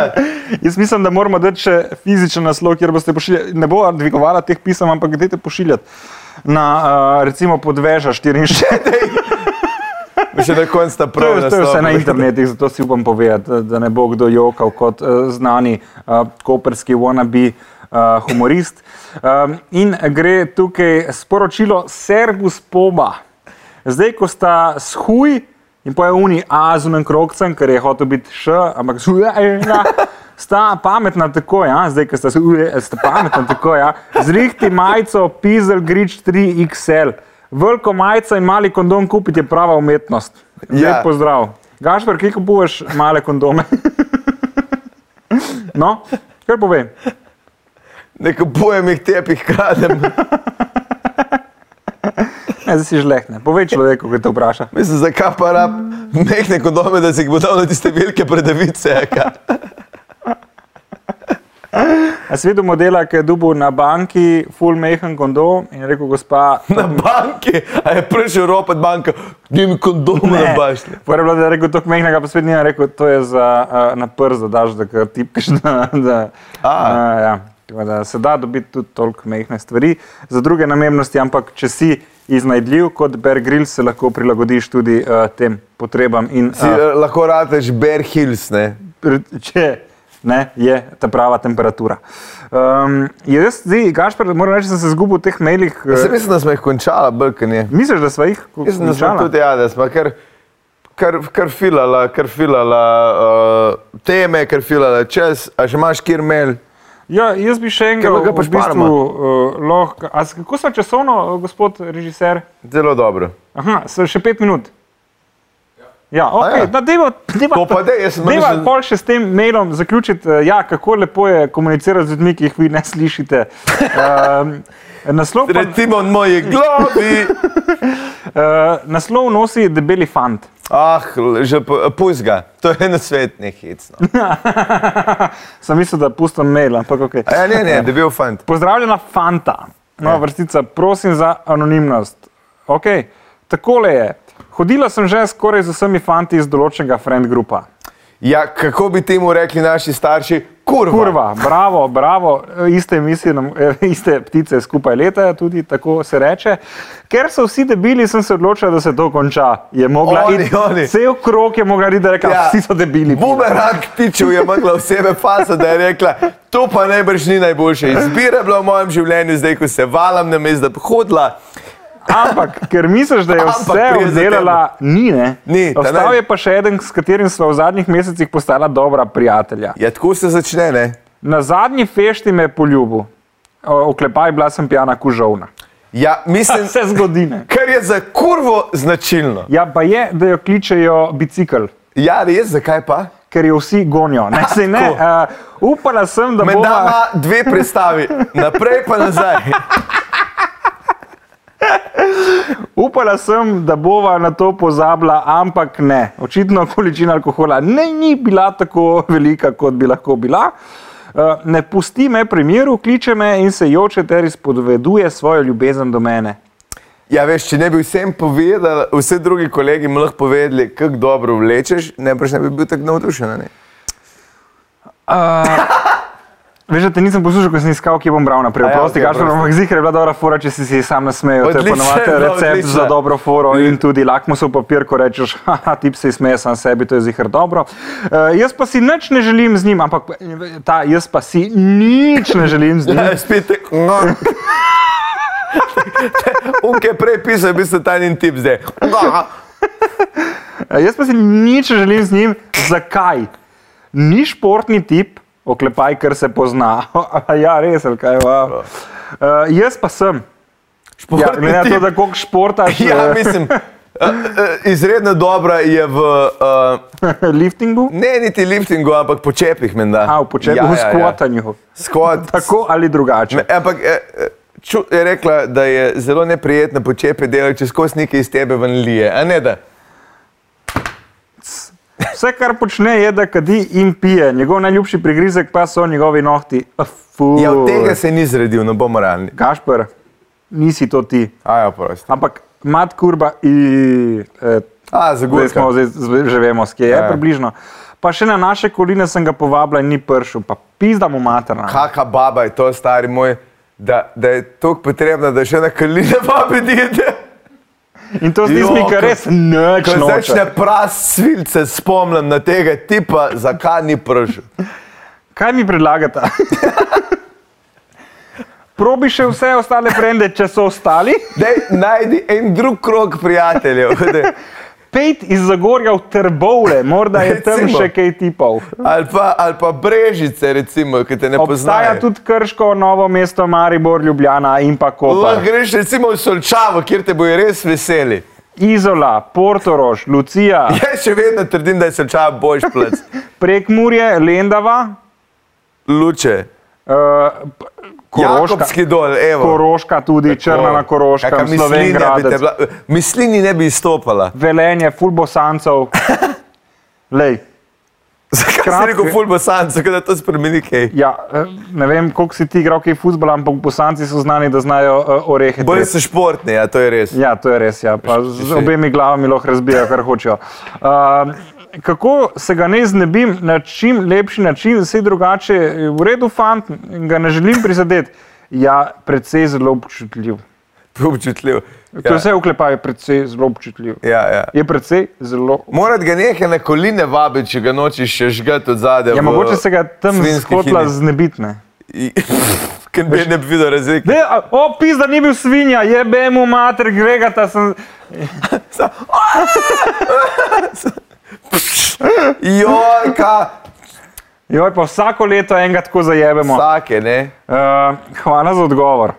[SPEAKER 2] Jaz mislim, da moramo dati še fizičen naslov, kjer boste pošiljali. Ne bo dvigovala teh pisem, ampak dajte pošiljati na uh, recimo podveža 64.
[SPEAKER 3] Še na koncu sta
[SPEAKER 2] To
[SPEAKER 3] prav.
[SPEAKER 2] je, to je vse na internetu, zato si upam povedati, eh, da ne bo kdo jokal kot uh, znani uh, koperski wannabe. Uh, humorist. Um, in gre tukaj sporočilo Servus Poba. Zdaj, ko sta shuj in pojavni A zunen krokcem, ker je hotel biti še, ampak E, shuj, sta pametna tako, ja? zdaj, ko sta shuj, sta pametna tako, ja? zrihti majico Pizel Grič 3XL. Veliko majica in mali kondom kupiti je prava umetnost. Ja.
[SPEAKER 3] Ja.
[SPEAKER 2] Lep pozdrav. Gašpor, kje kupuješ male kondome? (laughs) no, kar povej.
[SPEAKER 3] Ne kupujem jih tepih, kradem.
[SPEAKER 2] Ne, zdaj si žlehne. Povej človeku, ki te vpraša.
[SPEAKER 3] Mislim, zakaj pa rab mehne kondome, da si jih bo dal na tiste velike predavice. a ka?
[SPEAKER 2] A si videl modela, ki je dubu na banki, full mehen kondom in je rekel,
[SPEAKER 3] (laughs)
[SPEAKER 2] gospa,
[SPEAKER 3] Na banki, a je prišel ropat banka, ni mi kondome na bašni.
[SPEAKER 2] Prvi vlad je rekel, tako mehnega, pa spet ni rekel, to je za uh, na przo, daš, da ga tipkaš. (laughs) Da, da,
[SPEAKER 3] A.
[SPEAKER 2] uh, ja. Tako Da se da dobiti tudi toliko mehne stvari za druge namembnosti, ampak če si iznajdljiv kot Bear Grylls, se lahko prilagodiš tudi uh, tem potrebam. In,
[SPEAKER 3] Si
[SPEAKER 2] uh,
[SPEAKER 3] eh, lahko rateš Bear Hills, ne?
[SPEAKER 2] pr- če ne, je ta prava temperatura. Um, jaz, zdaj, Gašpar, moram reči, da sem se izgubil v teh mailih.
[SPEAKER 3] Ja,
[SPEAKER 2] eh,
[SPEAKER 3] se mislim, da smo jih končala, brkanje.
[SPEAKER 2] Misliš, da smo jih
[SPEAKER 3] Mislim, da smo
[SPEAKER 2] končala?
[SPEAKER 3] tudi, ja, da smo kar, kar, kar filala, kar filala uh, teme, kar filala čez, a še imaš kjer mail.
[SPEAKER 2] Ja, jaz bi še enega,
[SPEAKER 3] Ker lahko
[SPEAKER 2] v
[SPEAKER 3] pač
[SPEAKER 2] bistvu,
[SPEAKER 3] paramo.
[SPEAKER 2] uh, lahko. A s- Kako smo časovno, eh, gospod režiser?
[SPEAKER 3] Zelo dobro.
[SPEAKER 2] Aha, so še pet minut.
[SPEAKER 3] A
[SPEAKER 2] Ja,
[SPEAKER 3] ja.
[SPEAKER 2] ok, da deva, deva,
[SPEAKER 3] To pa daj, jaz sem
[SPEAKER 2] deva
[SPEAKER 3] mislil-
[SPEAKER 2] pol še s tem mailom zaključiti, eh, ja, kako lepo je komunicirati z ljudmi, ki jih vi ne
[SPEAKER 3] (laughs)
[SPEAKER 2] slišite. Um, naslov, pa,
[SPEAKER 3] Recimo od moje glavi.
[SPEAKER 2] uh, naslov nosi debeli fant.
[SPEAKER 3] Ah, l- že puzga, to je na svet nehicno.
[SPEAKER 2] Sem mislil, da pustim mail, ampak ok.
[SPEAKER 3] Ja, ne, ne, Ja. debel fant.
[SPEAKER 2] Pozdravljena, fanta. No, vrstica, prosim za anonimnost. Okay. Takole je. Hodila sem že skoraj z vsemi fanti iz določenega friend grupa.
[SPEAKER 3] Ja, kako bi temu rekli naši starši? Kurva.
[SPEAKER 2] Kurva, bravo, bravo, e, iste misli, nam- e, iste ptice skupaj letajo, tudi tako se reče. Ker so vsi debili, sem se odločila, da se to konča. Je mogla
[SPEAKER 3] Oni,
[SPEAKER 2] iti-
[SPEAKER 3] oni.
[SPEAKER 2] Cel krok je mogla reči, da reka, ja. vsi so debili.
[SPEAKER 3] Bumerang tičev je mogla vsebe fasa, da je rekla, to pa najbrž ni najboljša izbira bila v mojem življenju, zdaj ko se valam na mestu, da bi hodila.
[SPEAKER 2] Ampak, ker misliš, da je
[SPEAKER 3] Ampak
[SPEAKER 2] vse
[SPEAKER 3] pride za
[SPEAKER 2] oddelala, ni ne.
[SPEAKER 3] Ni, ta
[SPEAKER 2] Ostal
[SPEAKER 3] naj-
[SPEAKER 2] je pa še eden, s katerim sva v zadnjih mesecih postala dobra prijatelja.
[SPEAKER 3] Ja, tako se začne, ne?
[SPEAKER 2] Na zadnji fešti me je poljubil, O, oklepaj, bila sem pijana kužovna.
[SPEAKER 3] Ja, mislim,
[SPEAKER 2] Vse zgodine.
[SPEAKER 3] kar je za kurvo značilno.
[SPEAKER 2] Ja, pa je, da jo kličejo bicikl.
[SPEAKER 3] Ja, res, zakaj pa?
[SPEAKER 2] Ker jo vsi gonijo. Ne, saj ne, uh, upala sem, da bo
[SPEAKER 3] Menda ima dve predstavi, naprej pa nazaj.
[SPEAKER 2] Upala sem, da bova na to pozabila, ampak ne. Očitno količina alkohola ne ni bila tako velika, kot bi lahko bila. Eh, Ne pusti me pri miru, kliče me in se joče ter izpoveduje svojo ljubezen do mene.
[SPEAKER 3] Ja, veš, če ne bi vsem povedal, vse drugi kolegi mu lahko povedali, kako dobro vlečeš, ne, pač ne bi bil tako navdušen. a Ne?
[SPEAKER 2] Veš, da te nisem poslušal, ko sem iskal, kje bom bral naprej.
[SPEAKER 3] A ja,
[SPEAKER 2] Prosti,
[SPEAKER 3] okej,
[SPEAKER 2] kakšno
[SPEAKER 3] prosti.
[SPEAKER 2] bom zihar, je bila dobra fora, če si si sam nasmejal. To je
[SPEAKER 3] no, Odlično, Mm.
[SPEAKER 2] ponovadi
[SPEAKER 3] je bila
[SPEAKER 2] recept
[SPEAKER 3] odlična.
[SPEAKER 2] za dobro foro in tudi lakmusov papir, ko rečeš, (laughs) haha, tip se smeje sam sebi, to je zihar dobro. Uh, jaz pa si nič ne želim z njim, ampak ta jaz pa si nič ne želim z njim.
[SPEAKER 3] (laughs) Ja, spet je. No. Unke je prej pisal, v bistvu ta njen tip zdaj. No.
[SPEAKER 2] Eh, Jaz pa si nič ne želim z njim, zakaj? Ni športni tip, oklepaj, ker se pozna. (laughs) ja, res, ali kaj. Wow. Uh, jaz pa sem. Ja,
[SPEAKER 3] Športni
[SPEAKER 2] glede na to,
[SPEAKER 3] tip.
[SPEAKER 2] da koliko športa je
[SPEAKER 3] Ja, mislim, eh, eh, izredno dobra je v eh,
[SPEAKER 2] (laughs) v liftingu,
[SPEAKER 3] ne niti liftingu, ampak po čepih. menda.
[SPEAKER 2] a v početku ja, ja, ja. skvatanju.
[SPEAKER 3] Skvot.
[SPEAKER 2] Tako ali drugače.
[SPEAKER 3] Me- Ampak eh, eh, ču, je rekla, da je zelo neprijetno počepe delati, če skozi nekaj iz tebe ven lije. A ne da.
[SPEAKER 2] Vse, kar počne, je, da kadi in pije. Njegov najljubši prigrizek pa so njegovi nohti. Ah, ful.
[SPEAKER 3] Ja, od tega se ni zredil, ne bomo realni.
[SPEAKER 2] Gašpr, nisi to ti.
[SPEAKER 3] Aja, prosti.
[SPEAKER 2] Ampak mat kurba in...
[SPEAKER 3] A,
[SPEAKER 2] Zdaj
[SPEAKER 3] zagurka.
[SPEAKER 2] smo, zdaj z- že vemo, skje je
[SPEAKER 3] Ja.
[SPEAKER 2] približno. Pa še na naše koline sem ga povabila in ni pršil, pa pizda mu no. materna.
[SPEAKER 3] Kaka baba je to, stari moj, da, da je toliko potrebna, da še na kalina babi dide.
[SPEAKER 2] In to zdi se mi,
[SPEAKER 3] Jo,
[SPEAKER 2] kar
[SPEAKER 3] ko-
[SPEAKER 2] res nič
[SPEAKER 3] Ko
[SPEAKER 2] noče.
[SPEAKER 3] začne prast svilce, spomnim na tega tipa, zakaj ni pržil.
[SPEAKER 2] Kaj mi predlagata? (laughs) Probi še vse ostale frende, če so ostali.
[SPEAKER 3] Dej, najdi en drug krog prijateljev. (laughs) daj.
[SPEAKER 2] Pejt iz Zagorja v Trbovle, morda
[SPEAKER 3] (laughs)
[SPEAKER 2] je tam
[SPEAKER 3] Recimo.
[SPEAKER 2] še kaj tipov.
[SPEAKER 3] Ali pa, ali pa brežice, recimo, ki te ne poznajo.
[SPEAKER 2] Obstaja tudi Krško, Novo mesto, Maribor, Ljubljana in pa
[SPEAKER 3] Lahko
[SPEAKER 2] Koper.
[SPEAKER 3] greš recimo v Solčavo, kjer te bojo res veseli. (laughs)
[SPEAKER 2] Izola, Portorož, Lucija,
[SPEAKER 3] Jaz še vedno trdim, da je Solčava boljš plec.
[SPEAKER 2] Prekmurje, Lendava,
[SPEAKER 3] Luče,
[SPEAKER 2] uh, Koroška.
[SPEAKER 3] Jakobski dol, evo.
[SPEAKER 2] Koroška tudi, Tako. Črna na
[SPEAKER 3] Kaka mislina
[SPEAKER 2] Koroškem,
[SPEAKER 3] bi te
[SPEAKER 2] Slovenija,
[SPEAKER 3] bila, mislini ne bi izstopala. (laughs)
[SPEAKER 2] Velenje, Fulbosancov. Lej,
[SPEAKER 3] Zakaj si
[SPEAKER 2] Kratki.
[SPEAKER 3] rekel fulbosancu, da to spremeni kaj?
[SPEAKER 2] ja, eh, ne vem, koliko si ti igral kaj futbola, ampak bosanci so znani, da znajo uh, orehe.
[SPEAKER 3] Bolj
[SPEAKER 2] tresti.
[SPEAKER 3] so športni, ja, to je res. (laughs)
[SPEAKER 2] Ja, to je res. Ja. Pa Z obemi glavami lahko razbijajo, kar hočejo. Uh, kako se ga ne znebim na čim lepši način, vse drugače je v redu, fant, in ga ne želim prizadeti. Ja, predvsej zelo občutljiv.
[SPEAKER 3] Občutljiv.
[SPEAKER 2] To je
[SPEAKER 3] Ja,
[SPEAKER 2] vse vklepaj, predvsej zelo občutljiv.
[SPEAKER 3] ja, ja.
[SPEAKER 2] Je predvsej zelo.
[SPEAKER 3] Morati ga nekaj na koline vabiti, če ga nočeš še žgati od zadaj.
[SPEAKER 2] Ja, mogoče se ga tam skotla
[SPEAKER 3] zgodila.
[SPEAKER 2] znebitne.
[SPEAKER 3] (laughs) Ker bi ne bi videl razlike.
[SPEAKER 2] De, a, o, pizda, ni bil svinja, jebe mu mater, gregata sem.
[SPEAKER 3] Sa-
[SPEAKER 2] (laughs)
[SPEAKER 3] Jojka,
[SPEAKER 2] Joj, pa vsako leto enega tako zajebemo.
[SPEAKER 3] vsake, ne?
[SPEAKER 2] Uh, hvala za
[SPEAKER 3] (laughs)
[SPEAKER 2] odgovor.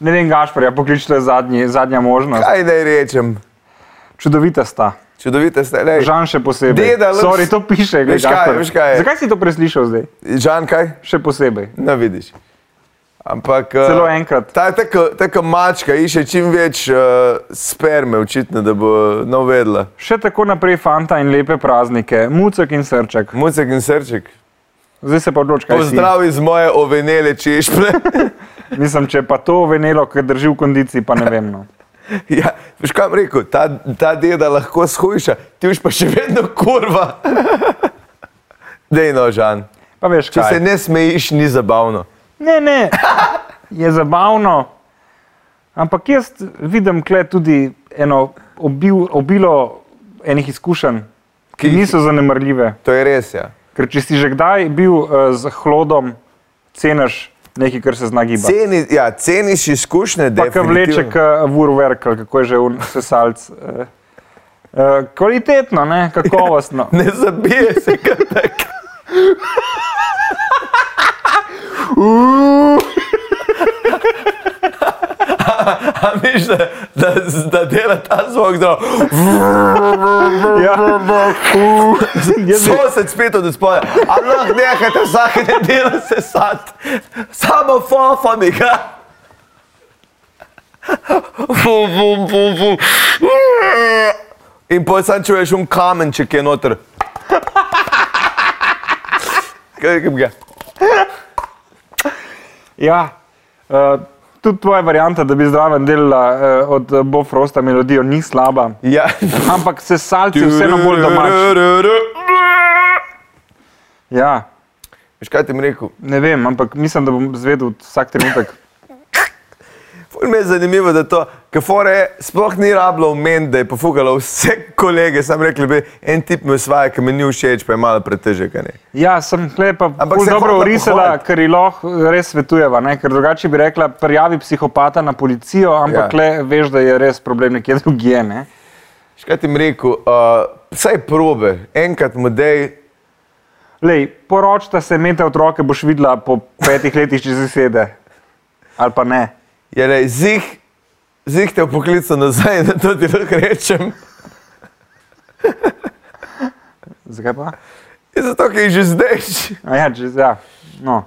[SPEAKER 2] Ne vem, Gašpor, ja, pokličite zadnji, zadnja možnost.
[SPEAKER 3] Kaj naj rečem?
[SPEAKER 2] Čudovita sta,
[SPEAKER 3] Čudovite ste, ne?
[SPEAKER 2] žan še posebej.
[SPEAKER 3] Deda, lep-
[SPEAKER 2] Sorry, to piše, glej,
[SPEAKER 3] Veš kaj,
[SPEAKER 2] Gašper.
[SPEAKER 3] veš kaj Eh. je?
[SPEAKER 2] Zakaj si to preslišal zdaj?
[SPEAKER 3] Žan, kaj?
[SPEAKER 2] Še posebej.
[SPEAKER 3] Ne vidiš. Ampak. eh,
[SPEAKER 2] Celo enkrat.
[SPEAKER 3] Ta tako tako mačka išče čim več uh, sperme, očitno, da bo no vedela.
[SPEAKER 2] Še tako naprej, fanta in lepe praznike, mucek in srček.
[SPEAKER 3] Mucek in srček.
[SPEAKER 2] Zdaj se pa odloči, kaj si.
[SPEAKER 3] Pozdrav iz moje ovenele češpne.
[SPEAKER 2] Mislim, če pa to venelo, ki drži v kondiciji, pa ne vem. No.
[SPEAKER 3] (laughs) ja, veš kaj bom rekel, ta, ta deda lahko shujša, ti už pa še vedno kurva. (laughs) Dejno, Žan.
[SPEAKER 2] Pa veš,
[SPEAKER 3] Če se
[SPEAKER 2] kaj.
[SPEAKER 3] ne smejiš, ni zabavno.
[SPEAKER 2] Ne, ne, je zabavno. Ampak jaz vidim tukaj tudi eno obil, obilo enih izkušenj, ki
[SPEAKER 3] Ki-
[SPEAKER 2] niso zanemrljive.
[SPEAKER 3] To je res, ja.
[SPEAKER 2] Ker če si že kdaj bil uh, z hlodom, ceniš nekaj, kar se zna gibati.
[SPEAKER 3] Ceni, ja ceniš izkušnje, da
[SPEAKER 2] Pa kar vleče, kot Vurwerk, ali kako je že un sesalc. Uh, uh, kvalitetno, ne? kakovostno.
[SPEAKER 3] Ne zabije se, kot tak. (laughs) A veš, da, da, da dela ta zvok zelo.
[SPEAKER 2] Ja. (laughs) Jaz bi-
[SPEAKER 3] Sosed spet od spodaj. A lahko nehate vsak dan dela se sad. Samo fofa mi ga. Fu, fu, fu, fu. In pol sam čuješ un kamenček je noter. Kaj bi ga?
[SPEAKER 2] Ja, uh, tudi tvoja varianta, da bi zraven delala uh, od eh, Bob Frosta melodijo, ni slaba.
[SPEAKER 3] Ja.
[SPEAKER 2] Ampak se salci vseeno bolj domač. Ja,
[SPEAKER 3] Veš kaj ti mi rekel?
[SPEAKER 2] ne vem, ampak mislim, da bom zvedel vsak trenutek.
[SPEAKER 3] Ful mi je zanimivo, da to, kafore, sploh ni rablo omen, da je pofugalo vse (laughs) kolege, sam rekli bi, en tip mi osvaja, ki mi ni všeč, pa je malo pretežek. a ne.
[SPEAKER 2] Ja, sem klepa,
[SPEAKER 3] Ampak
[SPEAKER 2] ampak
[SPEAKER 3] se je
[SPEAKER 2] dobro
[SPEAKER 3] hotela
[SPEAKER 2] urisala,
[SPEAKER 3] pohvaliti.
[SPEAKER 2] ker ji lahko eh, res svetujeva, ne? ker drugače bi rekla, prijavi psihopata na policijo, ampak
[SPEAKER 3] Ja.
[SPEAKER 2] ja. le veš, da je res problem nekje drugje. Ne?
[SPEAKER 3] Veš kaj ti mi rekel, uh, Saj probe, enkrat mu dej,
[SPEAKER 2] Lej, poročta se, imejte otroke, boš videla po petih letih, če se sede. Ali pa ne.
[SPEAKER 3] je le zih, zih te poklical nazaj, (laughs) da to ti lahko rečem.
[SPEAKER 2] Zakaj pa?
[SPEAKER 3] In zato, ker je že zdaj. (laughs)
[SPEAKER 2] A ja, če, ja. No.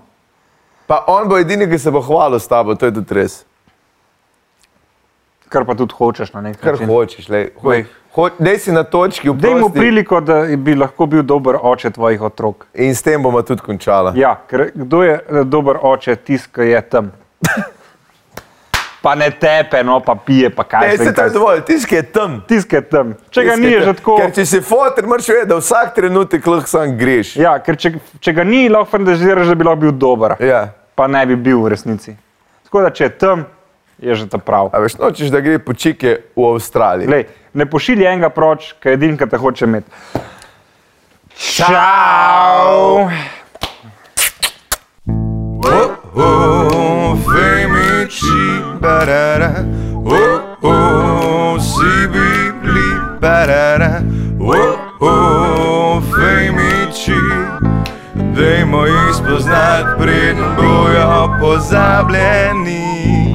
[SPEAKER 3] Pa on bo edini, ki se bo hvalil s tabo, to je tudi res.
[SPEAKER 2] Kar pa tudi hočeš na nek
[SPEAKER 3] Kar
[SPEAKER 2] način.
[SPEAKER 3] hočeš, le. Hoj, hoj, dej si na točki,
[SPEAKER 2] Daj mu
[SPEAKER 3] vprosti.
[SPEAKER 2] priliko, da bi lahko bil dober oče tvojih otrok.
[SPEAKER 3] In s tem bomo tudi končala.
[SPEAKER 2] Ja, ker kdo je eh, dober oče, tisti, ki je tam. Pa ne tepe, no pa pije, pa kaj
[SPEAKER 3] Ne, se to je dovolj, tisti, ki je tam.
[SPEAKER 2] Tisti, ki je tam. Če ga
[SPEAKER 3] Tisti,
[SPEAKER 2] ni,
[SPEAKER 3] ki je
[SPEAKER 2] je že
[SPEAKER 3] tam.
[SPEAKER 2] tako.
[SPEAKER 3] Ker če si fotor, moraš vedeti, da vsak trenutek lahko sam greš.
[SPEAKER 2] Ja, ker če, če ga ni, lahko fantaziraš, da bi lahko bil dober.
[SPEAKER 3] Ja.
[SPEAKER 2] Pa ne bi bil v resnici. Tako da, če je tam, je že ta prav.
[SPEAKER 3] A veš, nočeš, da gre počike v Avstralijo.
[SPEAKER 2] Lej, ne pošilj enega proč, ki je edini, ki te hoče imeti. Čau!
[SPEAKER 1] oh, fame chi barara. Oh, oh, sibi bli barara. Oh, oh, fame chi. Dajmo jih spoznati, preden bojo pozabljeni.